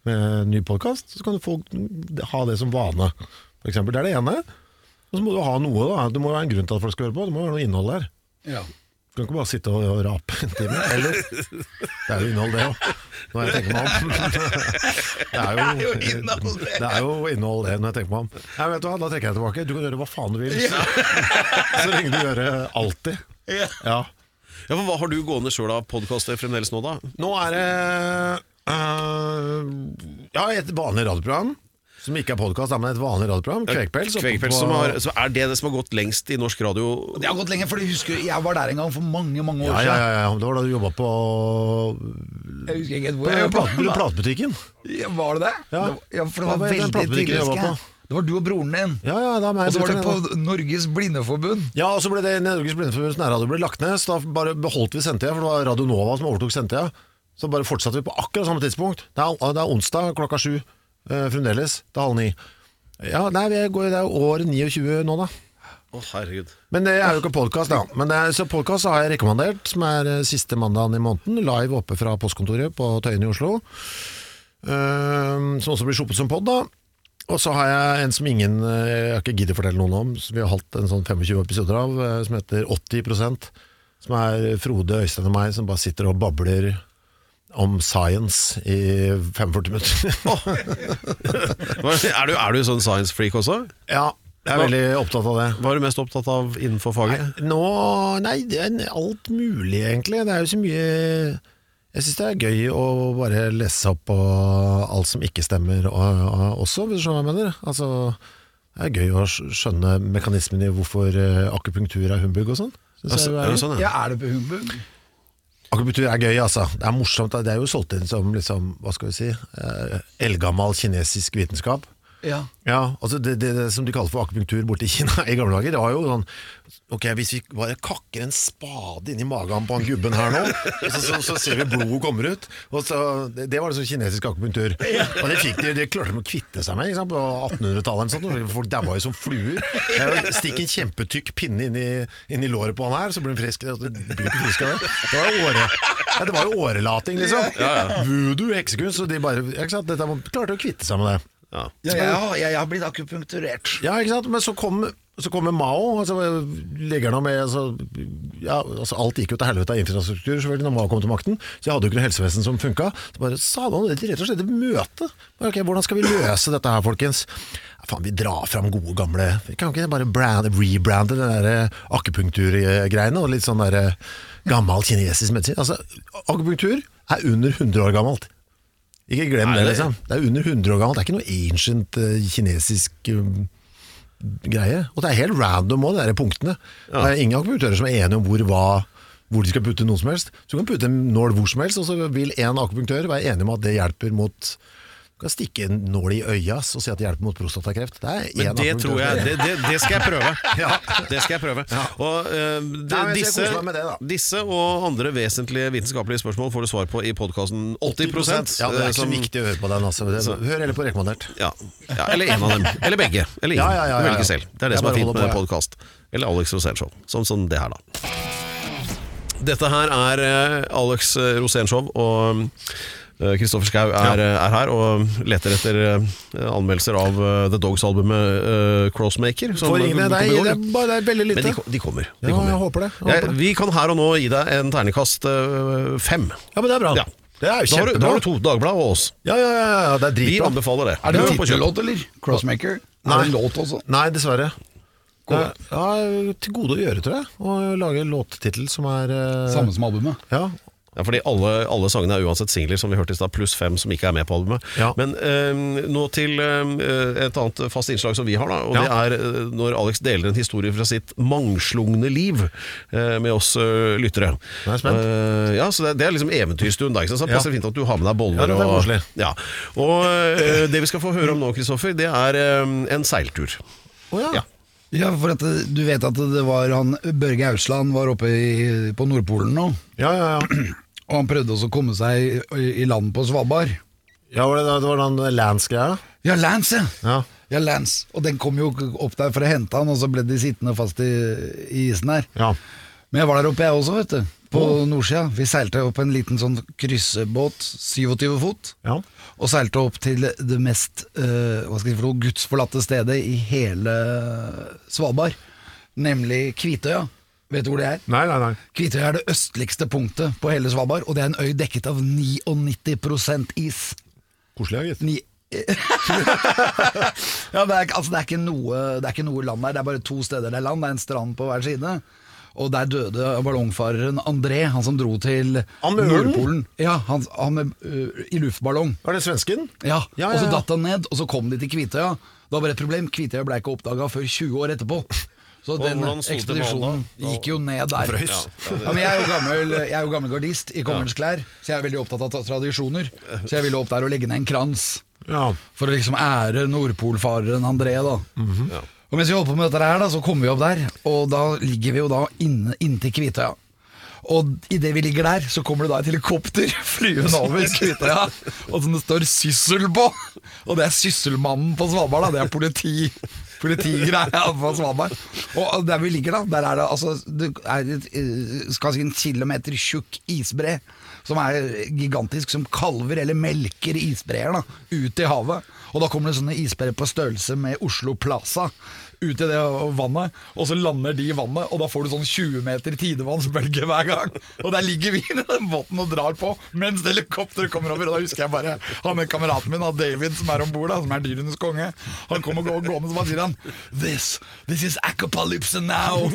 [SPEAKER 2] med en ny podkast. Så kan folk ha det som vane, f.eks. Det er det ene. Og så må du ha noe, da. Det må jo være en grunn til at folk skal høre på. Det må være noe innhold der.
[SPEAKER 1] Ja.
[SPEAKER 2] Du kan ikke bare sitte og rape en time. Eller? Det er jo innhold, det òg, når jeg tenker meg om. Det er jo,
[SPEAKER 1] Det er jo innhold, det.
[SPEAKER 2] det er jo innhold, det, når jeg tenker meg om. Nei, vet du hva, Da trekker jeg tilbake. Du kan gjøre hva faen du vil. Så lenge du gjør det alltid.
[SPEAKER 1] Ja.
[SPEAKER 2] Ja.
[SPEAKER 4] Ja, for Hva har du gående sjøl av podkaster fremdeles nå, da?
[SPEAKER 2] Nå er det øh, Ja, et vanlig radioprogram. Som ikke er podkast, men et vanlig radioprogram. Kvegpels. oppe
[SPEAKER 4] Kvegpels,
[SPEAKER 2] på-
[SPEAKER 4] som har, så er det det som har gått lengst i norsk radio?
[SPEAKER 1] Det har gått lenge, for jeg husker jeg var der en gang for mange mange år
[SPEAKER 2] ja, ja,
[SPEAKER 1] siden.
[SPEAKER 2] ja, ja, det var da du jobba på,
[SPEAKER 1] Jeg husker ikke helt
[SPEAKER 2] på,
[SPEAKER 1] hvor jeg jobbet.
[SPEAKER 2] plat- platebutikken.
[SPEAKER 1] Ja, Var det det?
[SPEAKER 2] Ja.
[SPEAKER 1] Det var- Ja, for det var
[SPEAKER 2] Ja, det er den
[SPEAKER 1] veldig tidlig,
[SPEAKER 2] platebutikken jeg
[SPEAKER 1] husker
[SPEAKER 2] jobbet
[SPEAKER 1] jeg. Det var du og broren din.
[SPEAKER 2] Ja, ja, det er meg.
[SPEAKER 1] Og så var det
[SPEAKER 2] brutter'n,
[SPEAKER 1] på Norges Blindeforbund.
[SPEAKER 2] Ja, og så ble det Norges Blindeforbunds nærradio ble lagt ned, så da bare beholdt vi sendetida, for det var Radio Nova som overtok sendetida. Så bare fortsatte vi på akkurat samme tidspunkt. Det er, det er onsdag klokka sju eh, fremdeles, til halv ni. Ja, nei, vi går, det er jo år 29 nå, da.
[SPEAKER 4] Å, herregud.
[SPEAKER 2] Men det er jo ikke podkast, da. Men det er, så podkast har jeg rekommandert, som er eh, siste mandagen i måneden. Live oppe fra postkontoret på Tøyen i Oslo. Ehm, som også blir sluppet som pod, da. Og så har jeg en som ingen eh, Jeg har ikke giddet fortelle noen om, som vi har hatt en sånn 25 episoder av, eh, som heter 80 Som er Frode, Øystein og meg som bare sitter og babler om science i 45 minutter.
[SPEAKER 4] Hva- Er du, er du sånn science freak også?
[SPEAKER 2] ja, jeg er veldig opptatt av det.
[SPEAKER 4] Hva er du mest opptatt av innenfor faget?
[SPEAKER 2] Nå, nei, det er alt mulig egentlig Det er jo så mye Jeg synes det er gøy å bare lese opp på alt som ikke stemmer og, og, Også, hvis du skjønner hva jeg mener Altså, det er gøy å skj- skjønne mekanismen i hvorfor eh, akupunktur er humbug og sånn Synes jeg jo er
[SPEAKER 4] Altså, er
[SPEAKER 2] gøy.
[SPEAKER 4] det sånn, ja?
[SPEAKER 1] Ja, er det på Humbug?
[SPEAKER 2] Akupunktur er gøy, altså. Det er morsomt. Det er jo solgt inn som liksom, hva skal vi si, eh, eldgammel kinesisk vitenskap.
[SPEAKER 1] Ja.
[SPEAKER 2] Ja, altså det, det, det som de kaller for akupunktur borte i Kina i gamle dager, det var jo sånn Ok, hvis vi bare kakker en spade inni magen på han gubben her nå, og så, så, så ser vi blodet kommer ut. Og så, det, det var liksom kinesisk akupunktur. Og det, fikk de, det klarte de å kvitte seg med ikke sant, på 1800-tallet. eller sånt, og Folk daua jo som fluer. Eh, Stikk en kjempetykk pinne inn i, inn i låret på han her, så blir han frisk. Det, det, blir ikke frisk av det. Det, var jo åre, ja, det var jo årelating, liksom. Voodoo, heksekunst. Og de bare ikke sant, dette, klarte å kvitte seg med det.
[SPEAKER 4] Ja.
[SPEAKER 1] Ja, jeg, har, jeg, jeg har blitt akupunkturert.
[SPEAKER 2] Ja, ikke sant? Men så kom, så kommer Mao, og så legger han med så, ja, altså Alt gikk jo til helvete av infrastruktur selvfølgelig når Mao kom til makten. Så jeg hadde jo ikke noe helsevesen som funka. Så bare sa han det til rett og slett et møte. Bare, Ok, Hvordan skal vi løse dette her, folkens? Ja, faen, vi drar fram gode, gamle Vi kan ikke bare brand, rebrande den der eh, akupunkturgreiene og litt sånn der gammel kinesisk medisin. Altså, akupunktur er under 100 år gammelt. Ikke glem
[SPEAKER 4] Er
[SPEAKER 2] det,
[SPEAKER 4] det?
[SPEAKER 2] liksom. Det er under 100 år gammelt. Det er ikke noe ancient eh, kinesisk um, greie. Og det er helt random òg, de der punktene. Det er ingen akupunktører som er enige om hvor, hva, hvor de skal putte noe som helst. Så du kan putte en nål hvor som helst, og så vil en akupunktør være enig om at det hjelper mot Du kan stikke en nål i øya og si at det hjelper mot prostatakreft. Det er
[SPEAKER 4] Men
[SPEAKER 2] én
[SPEAKER 4] det tror jeg Det, det, det skal jeg prøve.
[SPEAKER 2] Ja.
[SPEAKER 4] Det skal jeg prøve. Og eh, det-
[SPEAKER 2] Nei, men jeg skal
[SPEAKER 4] disse,
[SPEAKER 2] kose meg med det, da.
[SPEAKER 4] disse og andre vesentlige vitenskapelige spørsmål får du svar på i podkasten 80
[SPEAKER 2] Ja, det er ikke så
[SPEAKER 4] eh, som-
[SPEAKER 2] viktig å høre på den, altså. Hør heller på rekommandert.
[SPEAKER 4] Ja. ja, eller en av dem. Eller begge. Eller ingen.
[SPEAKER 2] Ja, ja, ja, ja,
[SPEAKER 4] Du
[SPEAKER 2] ja.
[SPEAKER 4] velger selv. Det er det
[SPEAKER 2] Jeg
[SPEAKER 4] som er
[SPEAKER 2] bare
[SPEAKER 4] fint
[SPEAKER 2] holder på,
[SPEAKER 4] med
[SPEAKER 2] ja.
[SPEAKER 4] podkast. Eller Alex Rosénshow. Sånn som det her, da. Dette her er eh, Alex eh, Rosénshow, og eh, Kristoffer Schau er, eh, er her og leter etter eh, anmeldelser av eh, The Dogs-albumet eh, Crossmaker. som
[SPEAKER 2] Får ingen
[SPEAKER 4] kom
[SPEAKER 2] av
[SPEAKER 4] i
[SPEAKER 2] deg,
[SPEAKER 4] går.
[SPEAKER 2] det er bare det er veldig
[SPEAKER 4] Men
[SPEAKER 2] lite.
[SPEAKER 4] de, ko- de kommer. De
[SPEAKER 2] Ja,
[SPEAKER 4] kommer.
[SPEAKER 2] jeg håper det, jeg
[SPEAKER 4] Jeg-
[SPEAKER 2] håper det.
[SPEAKER 4] vi kan her og nå gi deg en terningkast eh, fem.
[SPEAKER 2] Ja, men det er bra.
[SPEAKER 4] Ja.
[SPEAKER 2] Det er jo
[SPEAKER 4] Da har, du, da
[SPEAKER 2] kjempebra.
[SPEAKER 4] har du to Dagbladet og oss.
[SPEAKER 2] Ja, ja, ja, ja, det er
[SPEAKER 4] Vi
[SPEAKER 2] dritbra.
[SPEAKER 4] anbefaler det.
[SPEAKER 1] Er det en
[SPEAKER 4] Du får kjøpe.
[SPEAKER 1] tittellåt, eller? Crossmaker? Er det en låt også?
[SPEAKER 2] Nei, dessverre. Det er, ja, til gode å gjøre, tror jeg. Å lage låttittel som er eh,
[SPEAKER 1] Samme som albumet.
[SPEAKER 2] Ja.
[SPEAKER 4] Ja, fordi alle, alle sangene er uansett singler, som vi hørte i stad, pluss fem som ikke er med på albumet.
[SPEAKER 2] Ja.
[SPEAKER 4] Men eh, nå til eh, et annet fast innslag som vi har, da. Og
[SPEAKER 2] Ja.
[SPEAKER 4] det er eh, når Alex deler en historie fra sitt mangslungne liv eh, med oss eh, lyttere.
[SPEAKER 2] Nå er jeg spent.
[SPEAKER 4] Eh, ja, så det, det er liksom eventyrstund, da. Ikke sant? Så det
[SPEAKER 2] Ja.
[SPEAKER 4] passer fint at du har med deg boller.
[SPEAKER 2] Ja, det er
[SPEAKER 4] og,
[SPEAKER 2] koselig.
[SPEAKER 4] ja. og eh, det vi skal få høre om nå, Kristoffer, det er eh, en seiltur.
[SPEAKER 2] Å ja.
[SPEAKER 4] Ja.
[SPEAKER 1] Ja, for at eh, du vet at det var han Børge Ausland var oppe i, på Nordpolen nå,
[SPEAKER 2] Ja, ja, ja.
[SPEAKER 1] og han prøvde også å komme seg i, i land på Svalbard.
[SPEAKER 2] ja var det, det var den Lance-greia?
[SPEAKER 1] Ja, Lance, ja.
[SPEAKER 2] Ja.
[SPEAKER 1] Ja, Lance. Og den kom jo opp der for å hente han, og så ble de sittende fast i, i isen her.
[SPEAKER 2] ja.
[SPEAKER 1] Men jeg var der oppe jeg også, vet du. På nordsida. Vi seilte opp en liten sånn kryssebåt, 27 fot.
[SPEAKER 2] Ja.
[SPEAKER 1] Og seilte opp til det mest eh, hva skal jeg si for noe, gudsforlatte stedet i hele Svalbard, nemlig Kvitøya. Vet du hvor det er?
[SPEAKER 5] Nei, nei, nei.
[SPEAKER 1] Kvitøy er det østligste punktet på hele Svalbard, og det er en øy dekket av 99 is.
[SPEAKER 2] Koselig, ja, gitt.
[SPEAKER 1] Ni ja, det, er, ikke- altså, det, er ikke noe, det er ikke noe land der, det er bare to steder det er land. Det er en strand på hver side. Og der døde ballongfareren André, han som dro til
[SPEAKER 2] Han med ølen?
[SPEAKER 1] Nordpolen. Ja, han, han med, ø, I luftballong.
[SPEAKER 2] Er det svensken?
[SPEAKER 1] Ja.
[SPEAKER 2] Ja, ja,
[SPEAKER 1] Og så
[SPEAKER 2] ja.
[SPEAKER 1] datt han ned, og så kom de til Kvitøya. Det var bare et problem, Kvitøya ble ikke oppdaga før 20 år etterpå. Så den
[SPEAKER 4] hvordan sto det med
[SPEAKER 1] ekspedisjonen
[SPEAKER 4] han
[SPEAKER 1] gikk jo ned der. Ja, ja, men jeg er jo gammel, jeg er jo gammel gardist i kongens klær, så jeg er veldig opptatt av ta- tradisjoner. Så jeg ville opp der og legge ned en krans,
[SPEAKER 2] Ja.
[SPEAKER 1] for å liksom ære nordpolfareren André, da. Og mens vi holder på med dette her, da, så kommer vi opp der, og da ligger vi jo da inne inntil Kvitøya. Og idet vi ligger der, så kommer det da et helikopter flyvende over Kvitøya, og som det står 'Syssel' på. Og det er Sysselmannen på Svalbard, da. Det er politi. Politigreia på Svalbard. Og der vi ligger, da, der er det altså Det er et eh, skal si en kilometer tjukk isbre som er gigantisk, som kalver eller melker isbreer da, ut i havet. Og da kommer det sånne isbreer på størrelse med Oslo Plaza ut i det vannet, og så lander de i vannet, og da får du sånn 20 meter tidevannsbølge hver gang. Og der ligger vi i den båten og drar på, mens helikopteret kommer over, og da husker jeg bare han med kameraten min, da, David, som er ombord, da, som er dyrenes konge, han kommer gå- gående, så bare sier han, this, this is acapalypse now.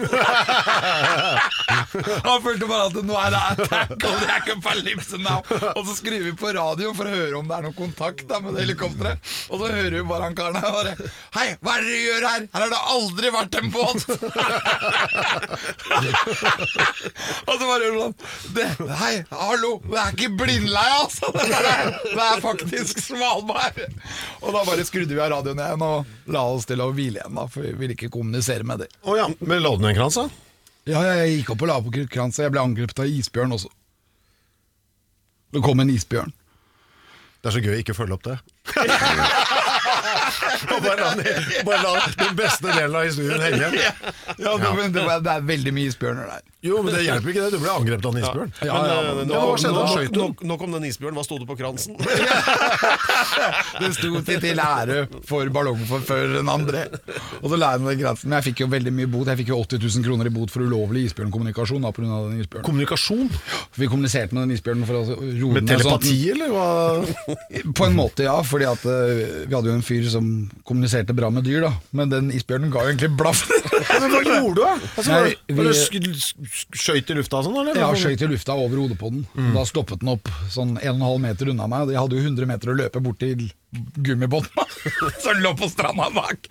[SPEAKER 1] Han følte bare at nå er det attack on the acapalypse now. Og så skriver vi på radioen for å høre om det er noen kontakt da, med det helikopteret. Og så hører vi bare han karen her bare Hei, hva er det dere gjør her? Her har det aldri vært en båt! og så bare gjør han sånn det, Hei, hallo, det er ikke blindleie, altså! Det er, det er faktisk Svalbard! Og da bare skrudde vi av radioen igjen og la oss til å hvile igjen, da, for vi ville ikke kommunisere med dem.
[SPEAKER 2] Å ja, men la du ned en krans, da?
[SPEAKER 1] Ja, ja, jeg gikk opp og la på kranse. Jeg ble angrepet av isbjørn også. Det kom en isbjørn.
[SPEAKER 2] Det er så gøy å ikke følge opp det. Og bare, la den- bare la den beste delen av historien henge.
[SPEAKER 1] Ja, det, men det, var, det er veldig mye isbjørner der.
[SPEAKER 2] Jo, men det hjelper ikke det. Du ble angrepet av en isbjørn.
[SPEAKER 1] Ja, ja,
[SPEAKER 4] eh,
[SPEAKER 1] men-
[SPEAKER 4] nå-
[SPEAKER 2] Ja, hva skjedde?
[SPEAKER 4] nå-
[SPEAKER 2] Han skjøt
[SPEAKER 4] nå- Nok om den isbjørnen. Hva sto det på kransen?
[SPEAKER 1] Det sto til, til ære for ballongforføreren André. Og så la jeg meg den grensen. Men jeg fikk jo veldig mye bot. Jeg fikk jo 80 000 kroner i bot for ulovlig isbjørnkommunikasjon. Da, på grunn av den isbjørnen.
[SPEAKER 2] Kommunikasjon?
[SPEAKER 1] Vi kommuniserte med den isbjørnen for å roe
[SPEAKER 2] Med
[SPEAKER 1] ned sånn at den-
[SPEAKER 2] telepati, eller hva?
[SPEAKER 1] På en måte, ja. Fordi at eh, vi hadde jo en fyr som kommuniserte bra med dyr, da. Men den isbjørnen ga jo egentlig blaffen.
[SPEAKER 2] Men hva gjorde du, da? Altså,
[SPEAKER 1] Nei, vi-
[SPEAKER 2] var det sk- sk- Skøyt i lufta og sånn, Mm. eller?
[SPEAKER 1] Ja, skjøt i lufta over hodet på den. Da stoppet den opp sånn 1,5 meter unna meg. og Jeg hadde jo 100 meter å løpe bort til gummibåten som lå på stranda bak.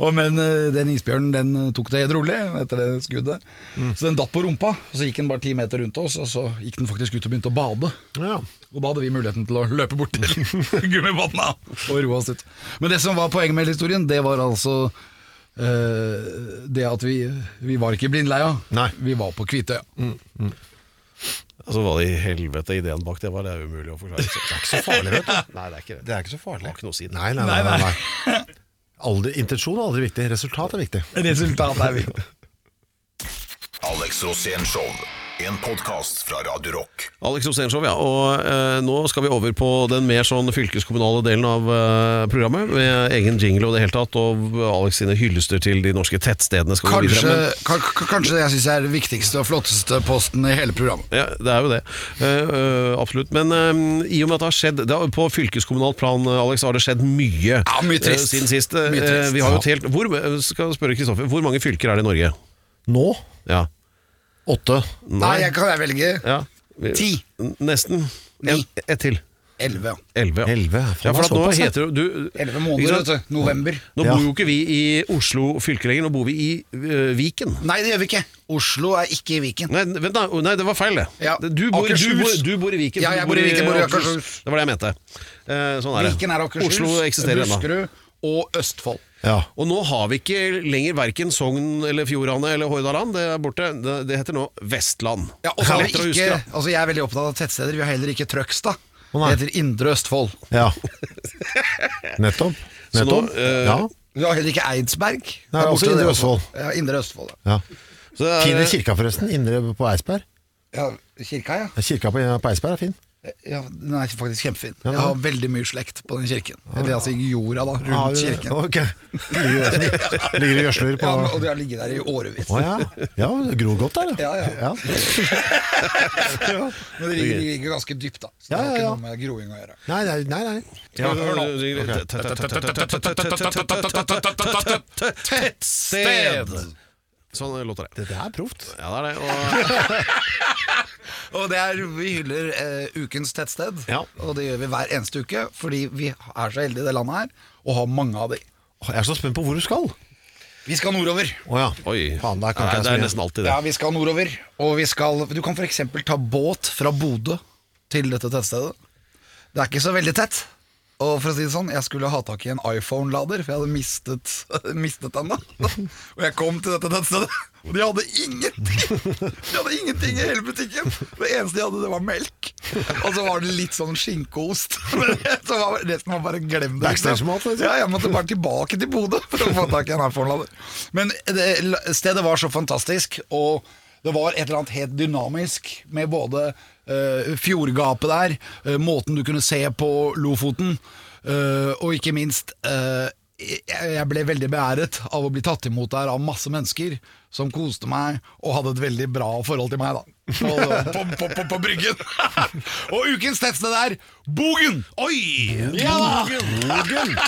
[SPEAKER 1] Og men eh, den isbjørnen den eh, tok det helt rolig etter det skuddet.
[SPEAKER 2] Mm.
[SPEAKER 1] Så den datt på rumpa, og så gikk den bare 10 meter rundt oss, og så gikk den faktisk ut og begynte å bade.
[SPEAKER 2] Ja.
[SPEAKER 1] Og da hadde vi muligheten til å løpe bort til gummibåten da, og roe oss ut. Men det som var poenget med hele historien, det var altså eh, det at vi, vi var ikke i blindleia.
[SPEAKER 2] Nei.
[SPEAKER 1] Vi var på Kvitøya.
[SPEAKER 4] Altså, Hva i helvete ideen bak det var, det er umulig å forklare. Det er ikke så farlig, vet du. Nei, det er ikke det.
[SPEAKER 2] Det er ikke så farlig.
[SPEAKER 4] Det har ikke noe å si.
[SPEAKER 2] Nei, nei, nei. nei, nei. Aldri, intensjon er aldri viktig. Resultat er viktig.
[SPEAKER 1] Resultatet er viktig.
[SPEAKER 3] Alex Rosénshow. En podkast fra Radio Rock.
[SPEAKER 4] Alex Rosenshov, ja. Og eh, nå skal vi over på den mer sånn fylkeskommunale delen av eh, programmet. Med egen jingle og det hele tatt, og Alex sine hyllester til de norske tettstedene. Skal vi gå
[SPEAKER 1] Kanskje,
[SPEAKER 4] videre med.
[SPEAKER 1] ka- ka- kanskje det jeg syns er den viktigste og flotteste posten i hele programmet.
[SPEAKER 4] Ja, det er jo det. Eh, eh, absolutt. Men eh, i og med at det har skjedd det har, På fylkeskommunalt plan, eh, Alex, har det skjedd mye,
[SPEAKER 1] Ja, mye trist.
[SPEAKER 4] eh, siden sist. Eh,
[SPEAKER 1] Mye trist.
[SPEAKER 4] vi har jo et helt Hvor, eh, skal jeg spørre Kristoffer, hvor mange fylker er det i Norge?
[SPEAKER 2] Nå
[SPEAKER 4] Ja.
[SPEAKER 2] åtte.
[SPEAKER 1] Nei, jeg kan jeg velge
[SPEAKER 4] Ja. Vi-
[SPEAKER 1] Ti.
[SPEAKER 4] N- Nesten.
[SPEAKER 1] Ni.
[SPEAKER 4] En- Ett til.
[SPEAKER 1] elleve.
[SPEAKER 4] Elleve. Ja.
[SPEAKER 2] Elleve, faen,
[SPEAKER 4] ja, for
[SPEAKER 2] det er
[SPEAKER 4] at nå
[SPEAKER 2] såpass, ja.
[SPEAKER 4] heter det- du
[SPEAKER 1] Elleve
[SPEAKER 4] ikke
[SPEAKER 1] måneder,
[SPEAKER 4] sant?
[SPEAKER 1] vet du. November.
[SPEAKER 4] Nå
[SPEAKER 2] Ja.
[SPEAKER 4] bor jo ikke vi i Oslo fylke lenger, nå bor vi i ø, Viken.
[SPEAKER 1] Nei, det gjør vi ikke. Oslo er ikke i Viken.
[SPEAKER 4] Nei, vent da, nei, det var feil det.
[SPEAKER 1] Ja.
[SPEAKER 4] Du, bor, du, bor,
[SPEAKER 1] Akershus.
[SPEAKER 4] du bor i Viken.
[SPEAKER 1] Ja,
[SPEAKER 4] du
[SPEAKER 1] jeg bor i Viken, bor i Akershus.
[SPEAKER 4] Det var det jeg mente. Eh, sånn er det.
[SPEAKER 1] Viken er Akershus,
[SPEAKER 4] Oslo eksisterer ennå.
[SPEAKER 1] Buskerud og Østfold.
[SPEAKER 2] Ja.
[SPEAKER 4] Og nå har vi ikke lenger verken Sogn eller Fjordane eller Hordaland, det er borte. Det, det heter nå Vestland.
[SPEAKER 1] Ja, og så har vi
[SPEAKER 4] Lettere å
[SPEAKER 1] ikke,
[SPEAKER 4] huske, da.
[SPEAKER 1] altså jeg er veldig opptatt av tettsteder. Vi har heller ikke Trøgstad.
[SPEAKER 2] Å,
[SPEAKER 1] Det
[SPEAKER 2] nei.
[SPEAKER 1] heter Indre Østfold.
[SPEAKER 2] ja. Nettopp.
[SPEAKER 4] Så nå,
[SPEAKER 2] Nettopp.
[SPEAKER 4] eh,
[SPEAKER 2] ja.
[SPEAKER 1] Vi har heller ikke Eidsberg.
[SPEAKER 2] Nei,
[SPEAKER 1] Der
[SPEAKER 2] også
[SPEAKER 1] borte,
[SPEAKER 2] Indre
[SPEAKER 1] det
[SPEAKER 2] Østfold.
[SPEAKER 1] Ja, Indre Østfold, ja.
[SPEAKER 2] ja.
[SPEAKER 4] Så det er-
[SPEAKER 2] Fin er kirka, forresten. Indre på Eidsberg.
[SPEAKER 1] ja kirka, ja.
[SPEAKER 2] Ja, Kirka på, på Eidsberg er fin.
[SPEAKER 1] Ja, den er faktisk kjempefin. Jeg har veldig mye slekt på den kirken. Eller altså i jorda, da,
[SPEAKER 2] Ah,
[SPEAKER 1] rundt kirken.
[SPEAKER 2] ok. Ligger ligger og gjødsler på
[SPEAKER 1] Ja, men- og de har ligget der i årevis.
[SPEAKER 2] Å ja. ja, det gror godt der,
[SPEAKER 1] Ja, ja.
[SPEAKER 2] Ja.
[SPEAKER 1] Men de ligger, de ligger ganske dypt, da. Så det
[SPEAKER 2] Ja,
[SPEAKER 1] har
[SPEAKER 2] ja,
[SPEAKER 1] ikke
[SPEAKER 2] ja.
[SPEAKER 1] noe med groing å gjøre.
[SPEAKER 2] Nei, nei, nei, nei.
[SPEAKER 4] Ja,
[SPEAKER 1] hør nå.
[SPEAKER 4] Tettsted! Sånn låter det.
[SPEAKER 2] Dette er proft.
[SPEAKER 4] Ja, det er det.
[SPEAKER 1] Og det er, Vi hyller eh, ukens tettsted,
[SPEAKER 4] Ja.
[SPEAKER 1] og det gjør vi hver eneste uke. Fordi vi er så heldige i det landet her, og har mange av de.
[SPEAKER 2] Åh, Jeg er så spent på hvor du skal.
[SPEAKER 1] Vi skal nordover.
[SPEAKER 2] Å ja.
[SPEAKER 4] Og, oi.
[SPEAKER 2] Faen, der kan
[SPEAKER 4] Nei,
[SPEAKER 2] ikke
[SPEAKER 4] det er
[SPEAKER 2] jeg så mye.
[SPEAKER 4] nesten alltid det.
[SPEAKER 1] Ja, vi skal nordover. Og vi skal, du kan f.eks. ta båt fra Bodø til dette tettstedet. Det er ikke så veldig tett. Og for å si det sånn, Jeg skulle ha tak i en iPhone-lader, for jeg hadde mistet, mistet den. da Og jeg kom til dette tettstedet, og de hadde ingenting! De hadde ingenting i hele butikken! Det eneste de hadde, det var melk. Og så var det litt sånn skinkeost. Men så var resten var bare glem det.
[SPEAKER 2] Backstage-mat, liksom.
[SPEAKER 1] Ja, jeg måtte bare tilbake til Bodø for å få tak i en iPhone-lader. Men det, stedet var så fantastisk, og det var et eller annet helt dynamisk med både eh, fjordgapet der, eh, måten du kunne se på Lofoten, eh, og ikke minst eh, jeg jeg ble veldig beæret av å bli tatt imot der av masse mennesker som koste meg og hadde et veldig bra forhold til meg, da. På, på, på, på, på bryggen. og ukens tettsted der, Bogen! Oi!
[SPEAKER 2] Bogen.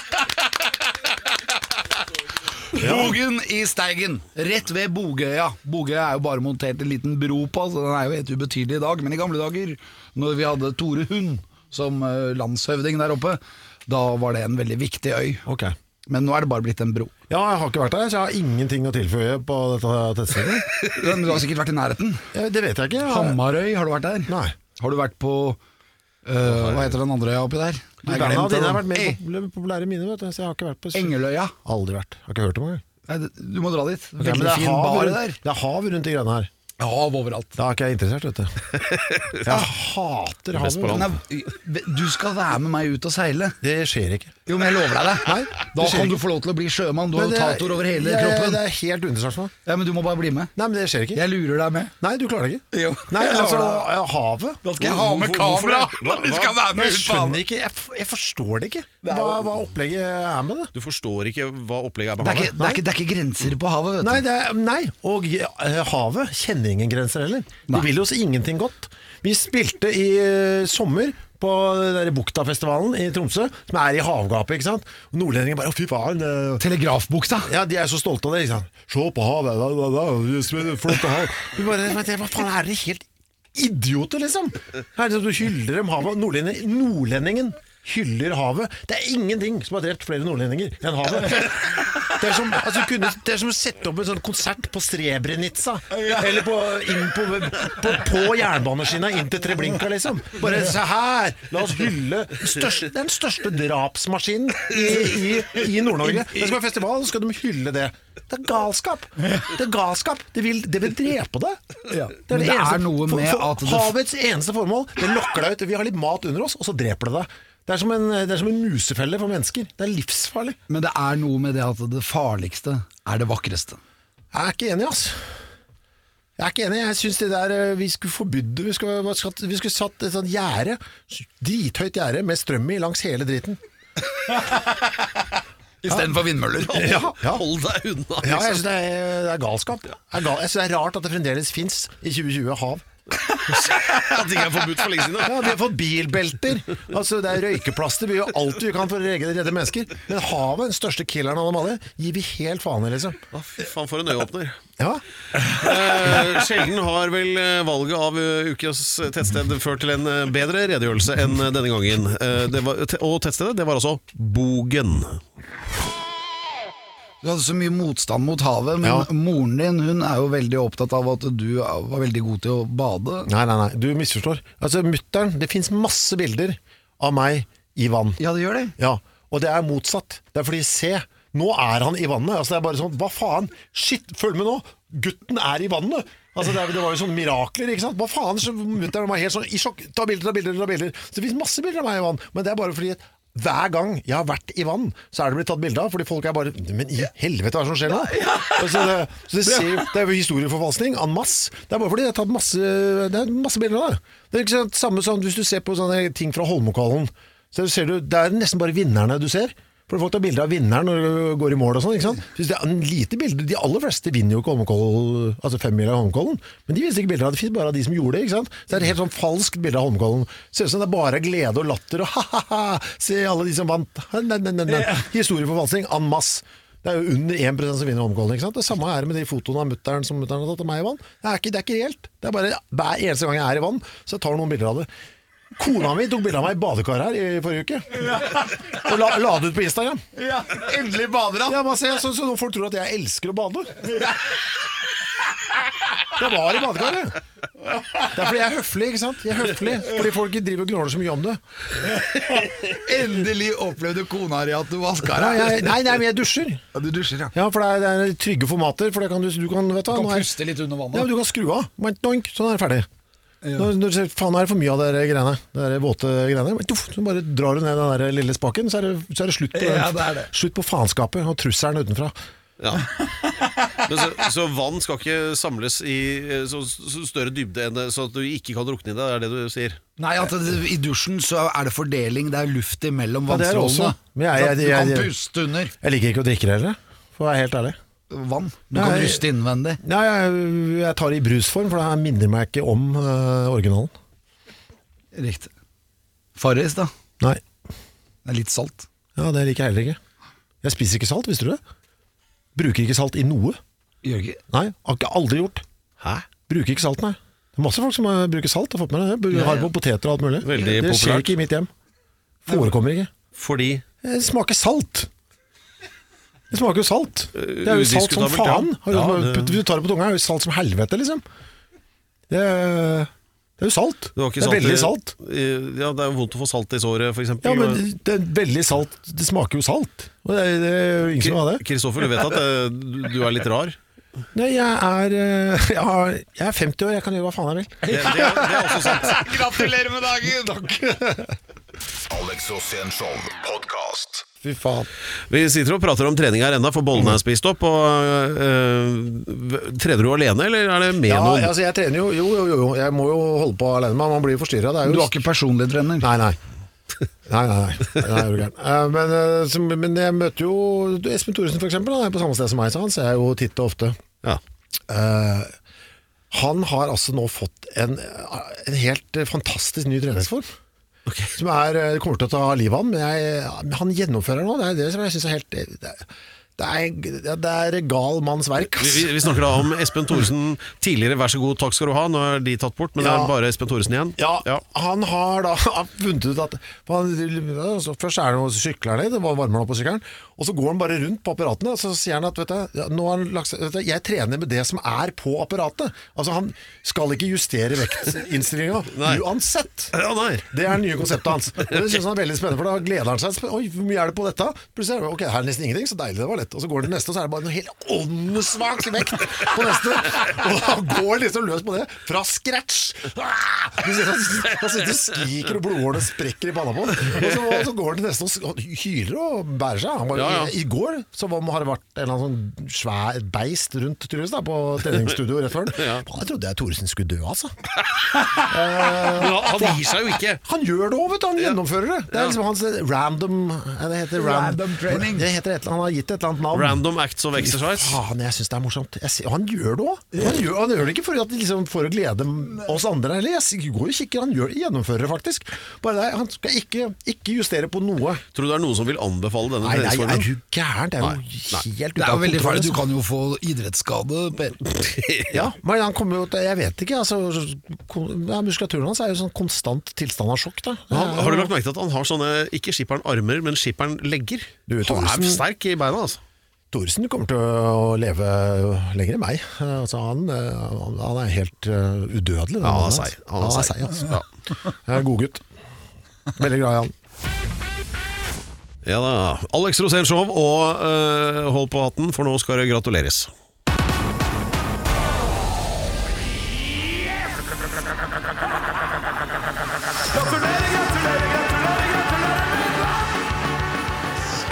[SPEAKER 1] Bogen i Steigen, rett ved Bogøya. Bogøya er jo bare montert en liten bro på, så den er jo helt ubetydelig i dag. Men i gamle dager, når vi hadde Tore Hund som eh, landshøvding der oppe, da var det en veldig viktig øy.
[SPEAKER 2] Ok.
[SPEAKER 1] Men nå er det bare blitt en bro.
[SPEAKER 2] Ja, jeg har ikke vært der, så jeg har ingenting å tilføye på dette tettstedet.
[SPEAKER 1] Men du har sikkert vært i nærheten.
[SPEAKER 2] Ja, Det vet jeg ikke. Jeg-
[SPEAKER 1] Hamarøy, har du vært der?
[SPEAKER 2] Nei.
[SPEAKER 1] Har du vært på eh, Hva heter den andre øya oppi der?
[SPEAKER 2] Du,
[SPEAKER 1] Nei, jeg
[SPEAKER 2] Banda
[SPEAKER 1] glemte
[SPEAKER 2] dine har
[SPEAKER 1] den.
[SPEAKER 2] vært mer
[SPEAKER 1] Eh,
[SPEAKER 2] popul- populære enn mine, vet du, så jeg har ikke vært på
[SPEAKER 1] Engeløya.
[SPEAKER 2] Aldri vært. Har ikke hørt om engang.
[SPEAKER 1] Nei, du må dra dit.
[SPEAKER 2] Ok, men
[SPEAKER 1] Veldig
[SPEAKER 2] det er
[SPEAKER 1] fin
[SPEAKER 2] hav
[SPEAKER 1] bar
[SPEAKER 2] rundt-
[SPEAKER 1] der.
[SPEAKER 2] Det er hav rundt de greiene her.
[SPEAKER 1] Hav overalt.
[SPEAKER 2] Da er ikke jeg interessert, vet du. Jeg hater
[SPEAKER 4] Best på
[SPEAKER 2] havet.
[SPEAKER 4] land.
[SPEAKER 1] Nei, du skal være med meg ut og seile.
[SPEAKER 2] Det skjer ikke.
[SPEAKER 1] Jo, men jeg lover deg det.
[SPEAKER 2] Nei,
[SPEAKER 1] da
[SPEAKER 2] det skjer
[SPEAKER 1] kan
[SPEAKER 2] ikke.
[SPEAKER 1] du få lov til å bli sjømann. Du har
[SPEAKER 2] Men
[SPEAKER 1] jo
[SPEAKER 2] det-
[SPEAKER 1] tatoer over hele
[SPEAKER 2] ja, ja,
[SPEAKER 1] kroppen.
[SPEAKER 2] Det er helt uinteressant for meg.
[SPEAKER 1] Ja, Men du må bare bli med.
[SPEAKER 2] Nei, men det skjer ikke.
[SPEAKER 1] Jeg lurer deg med.
[SPEAKER 2] Nei, du klarer det ikke.
[SPEAKER 1] Jo.
[SPEAKER 2] Nei,
[SPEAKER 1] Jeg
[SPEAKER 2] altså,
[SPEAKER 1] klarer
[SPEAKER 2] ja, havet
[SPEAKER 1] Da skal jeg ha med
[SPEAKER 4] Hvorfor-
[SPEAKER 1] kamera!
[SPEAKER 4] hvorfor det? Hva-
[SPEAKER 1] Vi skal være med
[SPEAKER 2] Jeg
[SPEAKER 1] ut på
[SPEAKER 2] skjønner ikke, jeg, f- jeg forstår det ikke.
[SPEAKER 1] er
[SPEAKER 2] Hva,
[SPEAKER 1] jo-
[SPEAKER 2] hva opplegget er med det?
[SPEAKER 4] Du forstår ikke hva opplegget
[SPEAKER 1] det er,
[SPEAKER 4] er behandlet.
[SPEAKER 1] ikke, det, er ikke, det er ikke grenser på havet, vet du.
[SPEAKER 2] Nei, det er, nei. og eh, havet kjenner ingen grenser heller.
[SPEAKER 1] Nei.
[SPEAKER 2] Det vil oss ingenting godt. Vi spilte i eh, sommer på den der Buktafestivalen i Tromsø, som er i havgapet, ikke sant? Og Nordlendinger bare, «Å, fy faen, eh,
[SPEAKER 1] Telegrafbukta.
[SPEAKER 2] Ja, de er så stolte av det. ikke sant? Se på havet, da, da, da, det smeller flott av hav. Du bare, men det- Hva faen er dere helt idioter, liksom? Her, er det som du hyller dem havet. Nordlendingen, nordlendingen hyller havet. Det er ingenting som har drept flere nordlendinger enn havet. Det er som, altså, kunne, det er som å sette opp en sånn konsert på Srebrenica. Eller på, inn på, på, på jernbaneskinna inn til Treblinka, liksom. Bare se her! La oss hylle største, den største drapsmaskinen i, i, i Nord-Norge. Det skal være festival, så skal de hylle det. Det er galskap! Det er galskap. Det vil, det vil drepe deg.
[SPEAKER 1] Ja. Men det er noe
[SPEAKER 2] for-
[SPEAKER 1] med
[SPEAKER 2] for
[SPEAKER 1] at det-
[SPEAKER 2] Havets eneste formål, det lokker deg ut. Vi har litt mat under oss, og så dreper det deg. Det er som en, det er som en musefelle for mennesker. Det er livsfarlig.
[SPEAKER 1] Men det er noe med det at det farligste er det vakreste.
[SPEAKER 2] Jeg er ikke enig, ass. Jeg er ikke enig. Jeg syns det der eh, vi skulle forbudt det. Vi skulle, hva skal- vi skulle satt et sånt gjerde, drithøyt gjerde med strøm i langs hele driten.
[SPEAKER 1] Istedenfor vindmøller.
[SPEAKER 2] Ja, ja.
[SPEAKER 4] Hold deg unna!
[SPEAKER 2] Ja, jeg syns det, er- det er galskap. Det er gal, jeg syns det er rart at det fremdeles fins i 2020 hav.
[SPEAKER 4] At ting er forbudt for lenge siden. da.
[SPEAKER 2] Ja, Vi har fått bilbelter, altså det er røykeplaster, vi gjør alt vi kan for å redde redde mennesker. Men havet, den største killeren av dem alle, gir vi helt faen i, liksom.
[SPEAKER 4] Å, Fy faen, for en øyeåpner.
[SPEAKER 2] Ja,
[SPEAKER 4] Eh, sjelden har vel eh, valget av eh, ukas tettsted ført til en eh, bedre redegjørelse enn eh, denne gangen. Eh, det var, te- og tettstedet, det var altså Bogen.
[SPEAKER 1] Du hadde så mye motstand mot havet, men
[SPEAKER 2] Ja.
[SPEAKER 1] moren din hun er jo veldig opptatt av at du var veldig god til å bade.
[SPEAKER 2] Nei, nei, nei, du misforstår. Altså, mutter'n, det fins masse bilder av meg i vann.
[SPEAKER 1] Ja, det gjør det.
[SPEAKER 2] Ja, og det er motsatt. Det er fordi, se, nå er han i vannet. Altså, det er bare sånn, hva faen? Shit, følg med nå. Gutten er i vannet. Altså, det, er, det var jo sånne mirakler, ikke sant? Hva faen? Så mutteren var helt sånn i sjokk. Ta bilder, ta bilder, ta bilder. Så det finnes masse bilder av meg i vann, men det er bare fordi at Hver gang jeg har vært i vann, så er det blitt tatt bilde av, fordi folk er bare Men i helvete, hva er det som skjer nå? Og Så det, så det, ser, det er jo historieforfalskning en masse. Det er bare fordi det er tatt masse, det er masse bilder av det. Det er ikke sant, samme som hvis du ser på sånne ting fra Holmenkollen. Så ser du, det er nesten bare vinnerne du ser. For Folk tar bilde av vinneren når du går i mål og sånn. ikke sant? Så det er en lite bilde. De aller fleste vinner jo ikke Holmenkollen, altså femmila i Holmenkollen. Men de viser ikke bilder av det. Det fins bare av de som gjorde det. ikke sant? Så det er et helt sånn falskt bilde av Holmenkollen. Ser ut som det er bare glede og latter og ha-ha-ha, se alle de som vant. Ha, ne, ne, ne, ne. Historieforfalskning en masse. Det er jo under 1 som vinner Holmenkollen. ikke sant? Det samme er det med de fotoene av mutter'n som mutter'n har tatt av meg i vann. Det er ikke, det er ikke reelt. Det er bare hver eneste gang jeg er i vann, så jeg tar noen bilder av det. Kona mi tok bilde av meg i badekar her i forrige uke. Og la, la det ut på Instagram.
[SPEAKER 1] Endelig bader han!
[SPEAKER 2] Ja, man ser, så, så nå folk tror at jeg elsker å bade. Jeg var i badekaret. Det er fordi jeg er høflig, ikke sant? Jeg er høflig, Fordi folk ikke driver og gnåler så mye om det.
[SPEAKER 1] Endelig opplevde kona di at du vaska
[SPEAKER 2] Nei,
[SPEAKER 1] deg.
[SPEAKER 2] jeg, nei, nei, men jeg dusjer.
[SPEAKER 1] Ja, du dusjer, ja.
[SPEAKER 2] Ja, for det er, det er trygge formater. For det kan du, du kan, vet du, hva,
[SPEAKER 1] Kan
[SPEAKER 2] nå er-
[SPEAKER 1] puste litt under
[SPEAKER 2] Ja, men
[SPEAKER 1] vannet.
[SPEAKER 2] du kan skru av. Bare doink, Sånn er det ferdig. Når, når du ser, faen er det for mye av de greiene, de der våte greiene, men tuff, så bare drar du ned den der lille spaken, så er det, så er det slutt på, den-
[SPEAKER 1] Ja, det er det.
[SPEAKER 2] slutt på faenskapet og trusselen utenfra.
[SPEAKER 4] Ja. Men så, så vann skal ikke samles i eh, så, så større dybde enn det, så at du ikke kan drukne i det, er det du sier?
[SPEAKER 1] Nei, at det, I dusjen så er det fordeling, det er luft imellom
[SPEAKER 2] Ja, det er det
[SPEAKER 1] vannstrålene.
[SPEAKER 2] også. Men jeg- jeg-
[SPEAKER 1] du kan
[SPEAKER 2] jeg- jeg-
[SPEAKER 1] puste under
[SPEAKER 2] Jeg liker ikke å drikke det heller, for å være helt ærlig.
[SPEAKER 1] vann. Du
[SPEAKER 2] Nei,
[SPEAKER 1] kan
[SPEAKER 2] jeg-
[SPEAKER 1] puste innvendig.
[SPEAKER 2] Nei, jeg, jeg tar det i brusform, for det her minner meg ikke om eh, originalen.
[SPEAKER 1] Riktig. Farris, da.
[SPEAKER 2] Nei,
[SPEAKER 1] Det er litt salt.
[SPEAKER 2] ja, det liker jeg heller ikke. Jeg spiser ikke salt, visste du det? Bruker ikke salt i noe.
[SPEAKER 1] Gjør ikke
[SPEAKER 2] Nei, har ikke aldri gjort.
[SPEAKER 4] Hæ?
[SPEAKER 2] Bruker ikke salt, nei. Det er masse folk som eh, bruker salt, har fått med det. Har det på poteter og alt mulig.
[SPEAKER 4] Veldig
[SPEAKER 2] det skjer
[SPEAKER 4] populært.
[SPEAKER 2] ikke i mitt hjem. Forekommer ikke.
[SPEAKER 4] Fordi
[SPEAKER 2] Det smaker salt. Det smaker jo salt. Det er jo salt som
[SPEAKER 4] Udiskutabelt, ja.
[SPEAKER 2] faen. Har du,
[SPEAKER 4] Ja, det-
[SPEAKER 2] putt- Hvis du tar det på tunga, er det jo salt som helvete, liksom. Det er, det er jo salt.
[SPEAKER 4] det var ikke
[SPEAKER 2] det er
[SPEAKER 4] i-
[SPEAKER 2] veldig salt.
[SPEAKER 4] i- Ja, det er jo vondt å få salt i såret, for eksempel.
[SPEAKER 2] Ja, men det er veldig salt. Det smaker jo salt. Og det er, det er jo ingen som har det.
[SPEAKER 4] Kristoffer, du vet at eh, du- du er litt rar?
[SPEAKER 2] Nei, jeg er, eh, jeg har- jeg er 50 år, jeg kan gjøre hva faen jeg vil.
[SPEAKER 4] Det, det, det er også sant.
[SPEAKER 1] Gratulerer med dagen!
[SPEAKER 3] Alex Rosén Show podcast.
[SPEAKER 2] Fy faen.
[SPEAKER 4] Vi sitter og prater om trening her ennå, for bollene er spist opp. Og, eh, trener du alene, eller er det med
[SPEAKER 2] Ja,
[SPEAKER 4] noen?
[SPEAKER 2] altså, jeg trener jo, jo, jo, jo, jeg må jo holde på alene, men man blir jo forstyrra.
[SPEAKER 1] Du har ikke personlig trener?
[SPEAKER 2] Nei, nei. Nei, nei, nei. nei er du gæren. Eh, Men, eh, som- men jeg møter jo du, Espen Thoresen, for eksempel. Han er på samme sted som meg, så han ser jeg jo titt og ofte.
[SPEAKER 4] Ja.
[SPEAKER 2] Eh, han har altså nå fått en, en helt eh, fantastisk ny treningsform. Som er, eh, kommer til å ta livet av han, men jeg, men han gjennomfører nå. Det er det som jeg synes er helt det, det, er, det er gal manns verk.
[SPEAKER 4] Vi,
[SPEAKER 2] ass.
[SPEAKER 4] vi, vi snakker da om Espen Thoresen tidligere, vær så god, takk skal du ha. Nå er de tatt bort, men det
[SPEAKER 2] Ja.
[SPEAKER 4] er bare Espen Thoresen igjen.
[SPEAKER 2] Ja, han har da funnet ut at for han, altså, Først er han og sykler ned, det var- varmer han opp på sykkelen, og så går han bare rundt på apparatene, og så sier han at vet du, ja, nå har han lagt, seg- vet du, jeg trener med det som er på apparatet. Altså, han skal ikke justere
[SPEAKER 4] Nei.
[SPEAKER 2] vektinnstillinga uansett.
[SPEAKER 4] Ja, nei.
[SPEAKER 2] Det er det nye konseptet hans. Og Det synes han er veldig spennende, for da gleder han seg. Sp- Oi, hvor mye er det på dette? Plutselig er det ok, her er nesten ingenting, så deilig det var lett. Og så går det til neste, og så er det bare noe helt åndssvak vekt på neste. Og han går liksom løs på det, fra scratch. Ah! Du ser Han han sitter og skriker, og blodårene sprekker i panna på ham. Og så, og så går han til neste og s- og hyler og bærer seg. Han bare,
[SPEAKER 4] Ja, ja.
[SPEAKER 2] I, I går så var, har det vært en eller annen sånn svær beist rundt Truls da, på treningsstudio rett før den. Jeg trodde jeg Thoresen skulle dø, altså.
[SPEAKER 4] Men han, han gir seg jo ikke.
[SPEAKER 2] Han gjør det òg, vet du. Han gjennomfører det. Det er liksom hans random ja, Det heter ran-
[SPEAKER 1] Random training.
[SPEAKER 2] Det heter et eller annet, han har gitt det et eller annet navn.
[SPEAKER 4] Random acts of exercise.
[SPEAKER 2] Faen, jeg syns det er morsomt. Jeg ser, og han gjør det òg. Han, gjør- han gjør det ikke for, at, liksom, for å glede oss andre. Eller jeg s- går og kikker, han gjør, gjennomfører det faktisk. Bare det, Han skal ikke, ikke justere på noe.
[SPEAKER 4] Tror du det er noen som vil anbefale denne
[SPEAKER 2] Nei, nei, er
[SPEAKER 4] treningsformen?
[SPEAKER 2] du gæren? Det er
[SPEAKER 4] Nei,
[SPEAKER 2] jo
[SPEAKER 1] Det
[SPEAKER 2] helt
[SPEAKER 1] er
[SPEAKER 2] ute
[SPEAKER 1] jo
[SPEAKER 2] av
[SPEAKER 1] veldig
[SPEAKER 2] kontroll,
[SPEAKER 1] farlig.
[SPEAKER 2] altså.
[SPEAKER 1] Du kan jo få idrettsskade, Per.
[SPEAKER 2] Ja, men han kommer jo til Jeg vet ikke, altså. kon- ja, Muskulaturen hans er jo sånn konstant tilstand av sjokk, da.
[SPEAKER 4] Han, har du lagt merke til at han har sånne, ikke skipperen-armer, men skipperen-legger?
[SPEAKER 2] Du,
[SPEAKER 4] Han er
[SPEAKER 2] Thoresen-
[SPEAKER 4] sterk i beina, altså.
[SPEAKER 2] Thoresen kommer til å leve lenger enn meg. Eh, Altså, han, eh, han han er helt eh, udødelig. den
[SPEAKER 4] Ja, han
[SPEAKER 2] mannen,
[SPEAKER 4] er seig.
[SPEAKER 2] altså.
[SPEAKER 4] Han er seig,
[SPEAKER 2] altså.
[SPEAKER 4] ja.
[SPEAKER 2] Jeg er en god gutt. Veldig glad i han.
[SPEAKER 4] Ja da. Alex Rosén Show og eh, hold på hatten, for nå skal det gratuleres.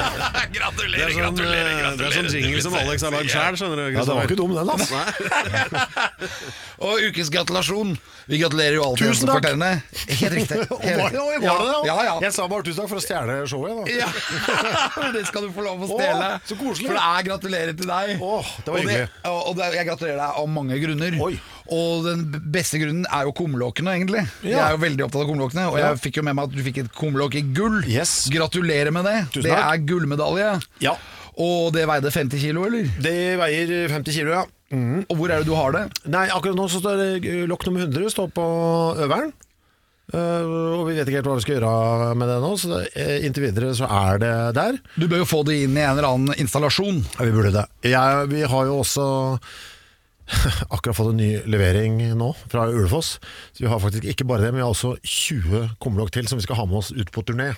[SPEAKER 4] sånn,
[SPEAKER 5] Gratulerer,
[SPEAKER 4] eh, det er
[SPEAKER 5] gratulerer.
[SPEAKER 4] sånn jingle som Alex har lagd sjæl, skjønner du.
[SPEAKER 2] Ja, det var
[SPEAKER 4] Kristoffer.
[SPEAKER 2] ikke dum, den, altså.
[SPEAKER 1] Og ukens gratulasjon. Vi gratulerer jo alltid
[SPEAKER 2] Tusen
[SPEAKER 1] den som
[SPEAKER 2] takk.
[SPEAKER 1] fortjener. Helt riktig.
[SPEAKER 2] Var
[SPEAKER 1] Helt
[SPEAKER 2] det-
[SPEAKER 1] riktig.
[SPEAKER 2] oi, var det
[SPEAKER 1] Ja,
[SPEAKER 2] det, da?
[SPEAKER 1] Ja, ja.
[SPEAKER 2] Jeg sa bare tusen takk for å stjele showet. Da.
[SPEAKER 1] Ja, Det skal du få lov å
[SPEAKER 2] Å,
[SPEAKER 1] stjele.
[SPEAKER 2] så koselig.
[SPEAKER 1] For det er gratulerer til deg.
[SPEAKER 2] Å, det var
[SPEAKER 1] og
[SPEAKER 2] hyggelig.
[SPEAKER 1] og og det, jeg gratulerer deg av mange grunner.
[SPEAKER 2] Oi.
[SPEAKER 1] Og den b- beste grunnen er jo kumlokkene, egentlig. Jeg
[SPEAKER 2] Ja.
[SPEAKER 1] er jo veldig opptatt av kumlokkene, og
[SPEAKER 2] Ja.
[SPEAKER 1] jeg fikk jo med meg at du fikk et kumlokk i gull.
[SPEAKER 2] Yes.
[SPEAKER 1] Gratulerer med det.
[SPEAKER 2] Tusen
[SPEAKER 1] det
[SPEAKER 2] takk.
[SPEAKER 1] er gullmedalje.
[SPEAKER 2] Ja.
[SPEAKER 1] Og det veide 50 kilo, eller?
[SPEAKER 2] Det veier 50 kilo, ja.
[SPEAKER 1] Og hvor er det du har det?
[SPEAKER 2] Nei, akkurat nå så står det eh, lokk nummer 100 står på øveren. Eh, og vi vet ikke helt hva vi skal gjøre med det nå, så det, eh, inntil videre så er det der.
[SPEAKER 1] Du bør jo få det inn i en eller annen installasjon.
[SPEAKER 2] Ja, vi burde det. Jeg, vi har jo også akkurat fått en ny levering nå fra Ulefoss. Så vi har faktisk ikke bare det, men vi har også 20 kumlokk til som vi skal ha med oss ut på turné.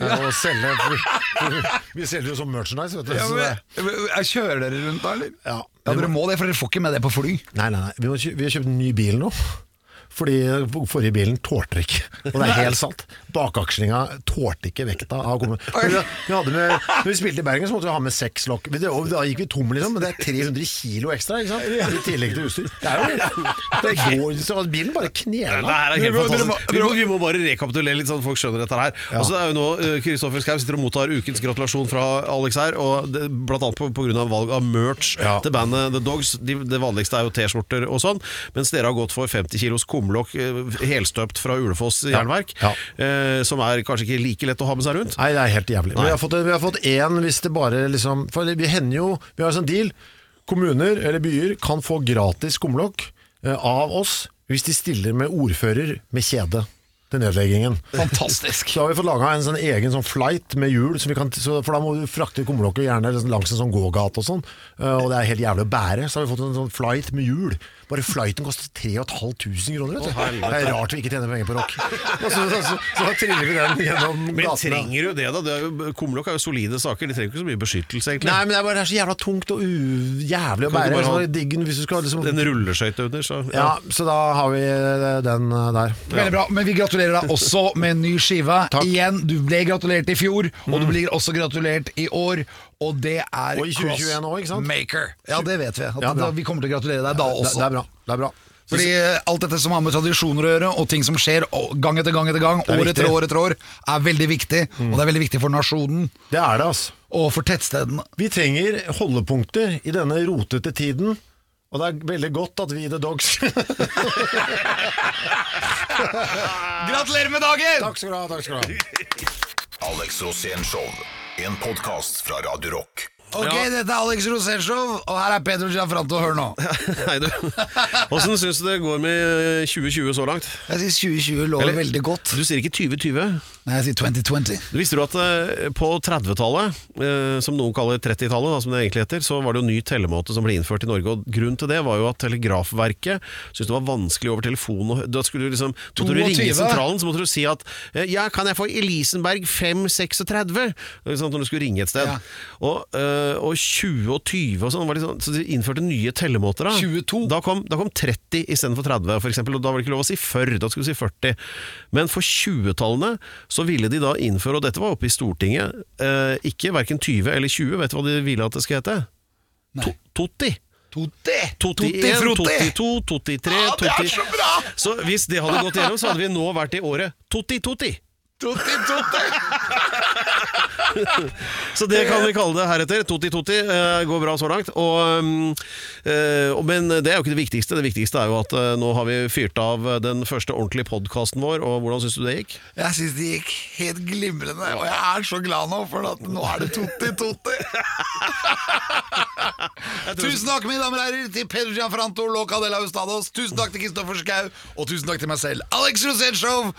[SPEAKER 2] Eh, Og selge, for, for, vi selger jo som merchandise, vet du. så det,
[SPEAKER 1] kjører dere rundt da, eller?
[SPEAKER 2] ja.
[SPEAKER 1] Ja, Dere må det, for dere får ikke med det på fly.
[SPEAKER 2] Nei, nei, nei. Vi, må, kjø- vi har kjøpt en ny bil nå. Fordi den forrige bilen tålte ikke. Og det er helt sant. Bakakslinga tålte ikke vekta av kummen. Vi, vi hadde med, når vi spilte i Bergen, så måtte vi ha med seks lokk. Vi- og Da gikk vi tom, liksom. Men det er 300 kilo ekstra, ikke sant? I tillegg til utstyr. Det er jo det går, så Bilen bare
[SPEAKER 4] Det
[SPEAKER 2] knela.
[SPEAKER 4] her er helt
[SPEAKER 1] Dere må- dere
[SPEAKER 4] fantastisk. Vi må, vi må bare rekapitulere litt, sånn at folk skjønner dette her. Altså, det er jo nå eh, Kristoffer Schau sitter og mottar ukens gratulasjon fra Alex her, og det, blant annet på, på grunn av valg av merch
[SPEAKER 2] Ja.
[SPEAKER 4] til bandet The Dogs. De, det vanligste er jo T-skjorter og sånn, mens dere har gått for 50 kilos kumlokk eh, helstøpt fra Ulefoss jernverk,
[SPEAKER 2] Ja.
[SPEAKER 4] eh, som er kanskje ikke like lett å ha med seg rundt.
[SPEAKER 2] Nei, det er helt jævlig. Men
[SPEAKER 4] Nei.
[SPEAKER 2] vi har fått- vi har fått én hvis det bare liksom For vi hender jo Vi har en sånn deal. Kommuner eller byer kan få gratis kumlokk eh, av oss hvis de stiller med ordfører med kjede til nedleggingen.
[SPEAKER 1] Fantastisk.
[SPEAKER 2] Så har vi fått laga en sånn egen sånn flight med hjul, så vi kan, så, for da må du frakte kumlokket gjerne liksom langs en sånn gågate og sånn. eh, og det er helt jævlig å bære. Så har vi fått en sånn flight med hjul. Bare flighten koster 3500 kroner, vet du. Det er rart vi ikke tjener penger på rock. Og så, så, så, så triller vi den gjennom
[SPEAKER 4] Men
[SPEAKER 2] gatene.
[SPEAKER 4] trenger du det, da? Det er jo, kumlokk er jo solide saker, de trenger ikke så mye beskyttelse, egentlig.
[SPEAKER 2] Nei, men det er bare det er så jævla tungt og u- jævlig å
[SPEAKER 4] Kan du
[SPEAKER 2] bære.
[SPEAKER 4] bare
[SPEAKER 2] Så det
[SPEAKER 4] ha-
[SPEAKER 2] er sånn diggen hvis du skal liksom
[SPEAKER 4] En rulleskøyte under, så
[SPEAKER 2] ja, så da har vi eh, den eh, der.
[SPEAKER 1] Veldig bra, men vi gratulerer deg også med en ny skive.
[SPEAKER 2] Takk. Mm.
[SPEAKER 1] Igjen, du ble gratulert i fjor, og du blir også gratulert i år. Og det er
[SPEAKER 2] Og i 2021 også, ikke sant?
[SPEAKER 1] Crossmaker. Ja, det vet vi. At
[SPEAKER 2] Ja, bra.
[SPEAKER 1] da- vi kommer til å gratulere deg da
[SPEAKER 2] Det,
[SPEAKER 1] også.
[SPEAKER 2] det er bra. Det er bra.
[SPEAKER 1] Fordi eh, alt dette som har med tradisjoner å gjøre, og ting som skjer og- gang etter gang etter gang,
[SPEAKER 2] er
[SPEAKER 1] år etter
[SPEAKER 2] viktig. Mm.
[SPEAKER 1] år etter år, er veldig viktig. Og det er veldig viktig for nasjonen
[SPEAKER 2] Det er det, altså.
[SPEAKER 1] og for tettstedene.
[SPEAKER 2] Vi trenger holdepunkter i denne rotete tiden. Og det er veldig godt at vi i The Dogs
[SPEAKER 1] Gratulerer med dagen!
[SPEAKER 2] Takk skal du ha. takk skal du ha
[SPEAKER 3] Alex Rosén Show. En podkast fra Radio Rock.
[SPEAKER 1] Ok, dette er Alex Rosenshov, og her er Pedro Gianfranto. Hør nå.
[SPEAKER 4] Nei, du. Åssen syns du det går med 2020 så langt?
[SPEAKER 1] Jeg syns 2020 lå
[SPEAKER 4] Eller-
[SPEAKER 1] veldig godt.
[SPEAKER 4] Du sier ikke 2020?
[SPEAKER 1] Nei, jeg sier 2020.
[SPEAKER 4] Visste du at eh, på 30-tallet, eh, som noen kaller 30-tallet, da, som det egentlig heter, så var det jo ny tellemåte som ble innført i Norge. og Grunnen til det var jo at Telegrafverket syntes det var vanskelig over telefon å hø- Da skulle du liksom Måtte du ringe
[SPEAKER 1] 22.
[SPEAKER 4] sentralen, så måtte du si at eh, Ja, kan jeg få Elisenberg 536? Ikke sant, Sånn når du skulle ringe et sted.
[SPEAKER 1] Ja.
[SPEAKER 4] Og, eh, og 20 og 20 og sånn, var liksom, så de innførte nye tellemåter. Da
[SPEAKER 1] 22.
[SPEAKER 4] Da kom, da kom 30 istedenfor 30, for eksempel, og da var det ikke lov å si 40, da skulle du si 40. Men for 20-tallene så ville de da innføre, og dette var oppe i Stortinget, eh, ikke verken 20 eller 20, vet du hva de ville at det skulle hete?
[SPEAKER 1] Nei.
[SPEAKER 4] To- Totti.
[SPEAKER 1] Totti!
[SPEAKER 4] 21,
[SPEAKER 1] Frutti!
[SPEAKER 4] 22, 23, 20 Så, hvis det hadde gått gjennom, så hadde vi nå vært i året Totti Totti.
[SPEAKER 1] Totti, Totti!
[SPEAKER 4] Så det kan vi kalle det heretter. Totti Totti eh, går bra så langt. Og, mm, eh, og- men det er jo ikke det viktigste. Det viktigste er jo at eh, nå har vi fyrt av eh, den første ordentlige podkasten vår, og hvordan syns du det gikk?
[SPEAKER 1] Jeg syns det gikk helt glimrende, og jeg er så glad nå, for at nå er det Totti, Totti! tusen takk, mine damer og herrer, til Pedro Gianfranto Loca de la Hustados. Tusen takk til Kristoffer Schau, og tusen takk til meg selv. Alex Rosén Show!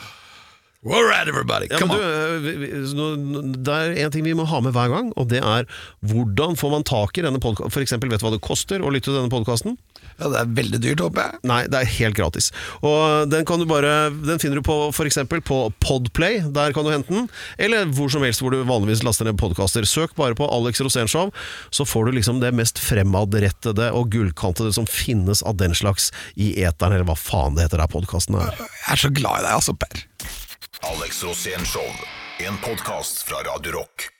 [SPEAKER 1] We're at everybody!
[SPEAKER 4] Ja, men
[SPEAKER 1] Come
[SPEAKER 4] du,
[SPEAKER 1] on!
[SPEAKER 4] eh, vi- vi- nå- nå- det er en ting vi må ha med hver gang, og det er hvordan får man tak i denne podkasten? For eksempel, vet du hva det koster å lytte til denne podkasten?
[SPEAKER 1] Ja, det er veldig dyrt, håper jeg.
[SPEAKER 4] Nei, det er helt gratis. Og den, kan du bare, den finner du på f.eks. på Podplay. Der kan du hente den. Eller hvor som helst hvor du vanligvis laster ned podkaster. Søk bare på Alex Rosénshow, så får du liksom det mest fremadrettede og gullkantede som finnes av den slags i eteren, eller hva faen det heter der podkasten er.
[SPEAKER 1] Jeg er så glad i deg, altså, Per.
[SPEAKER 3] Alex Rosén Show. En podkast fra Radio Rock.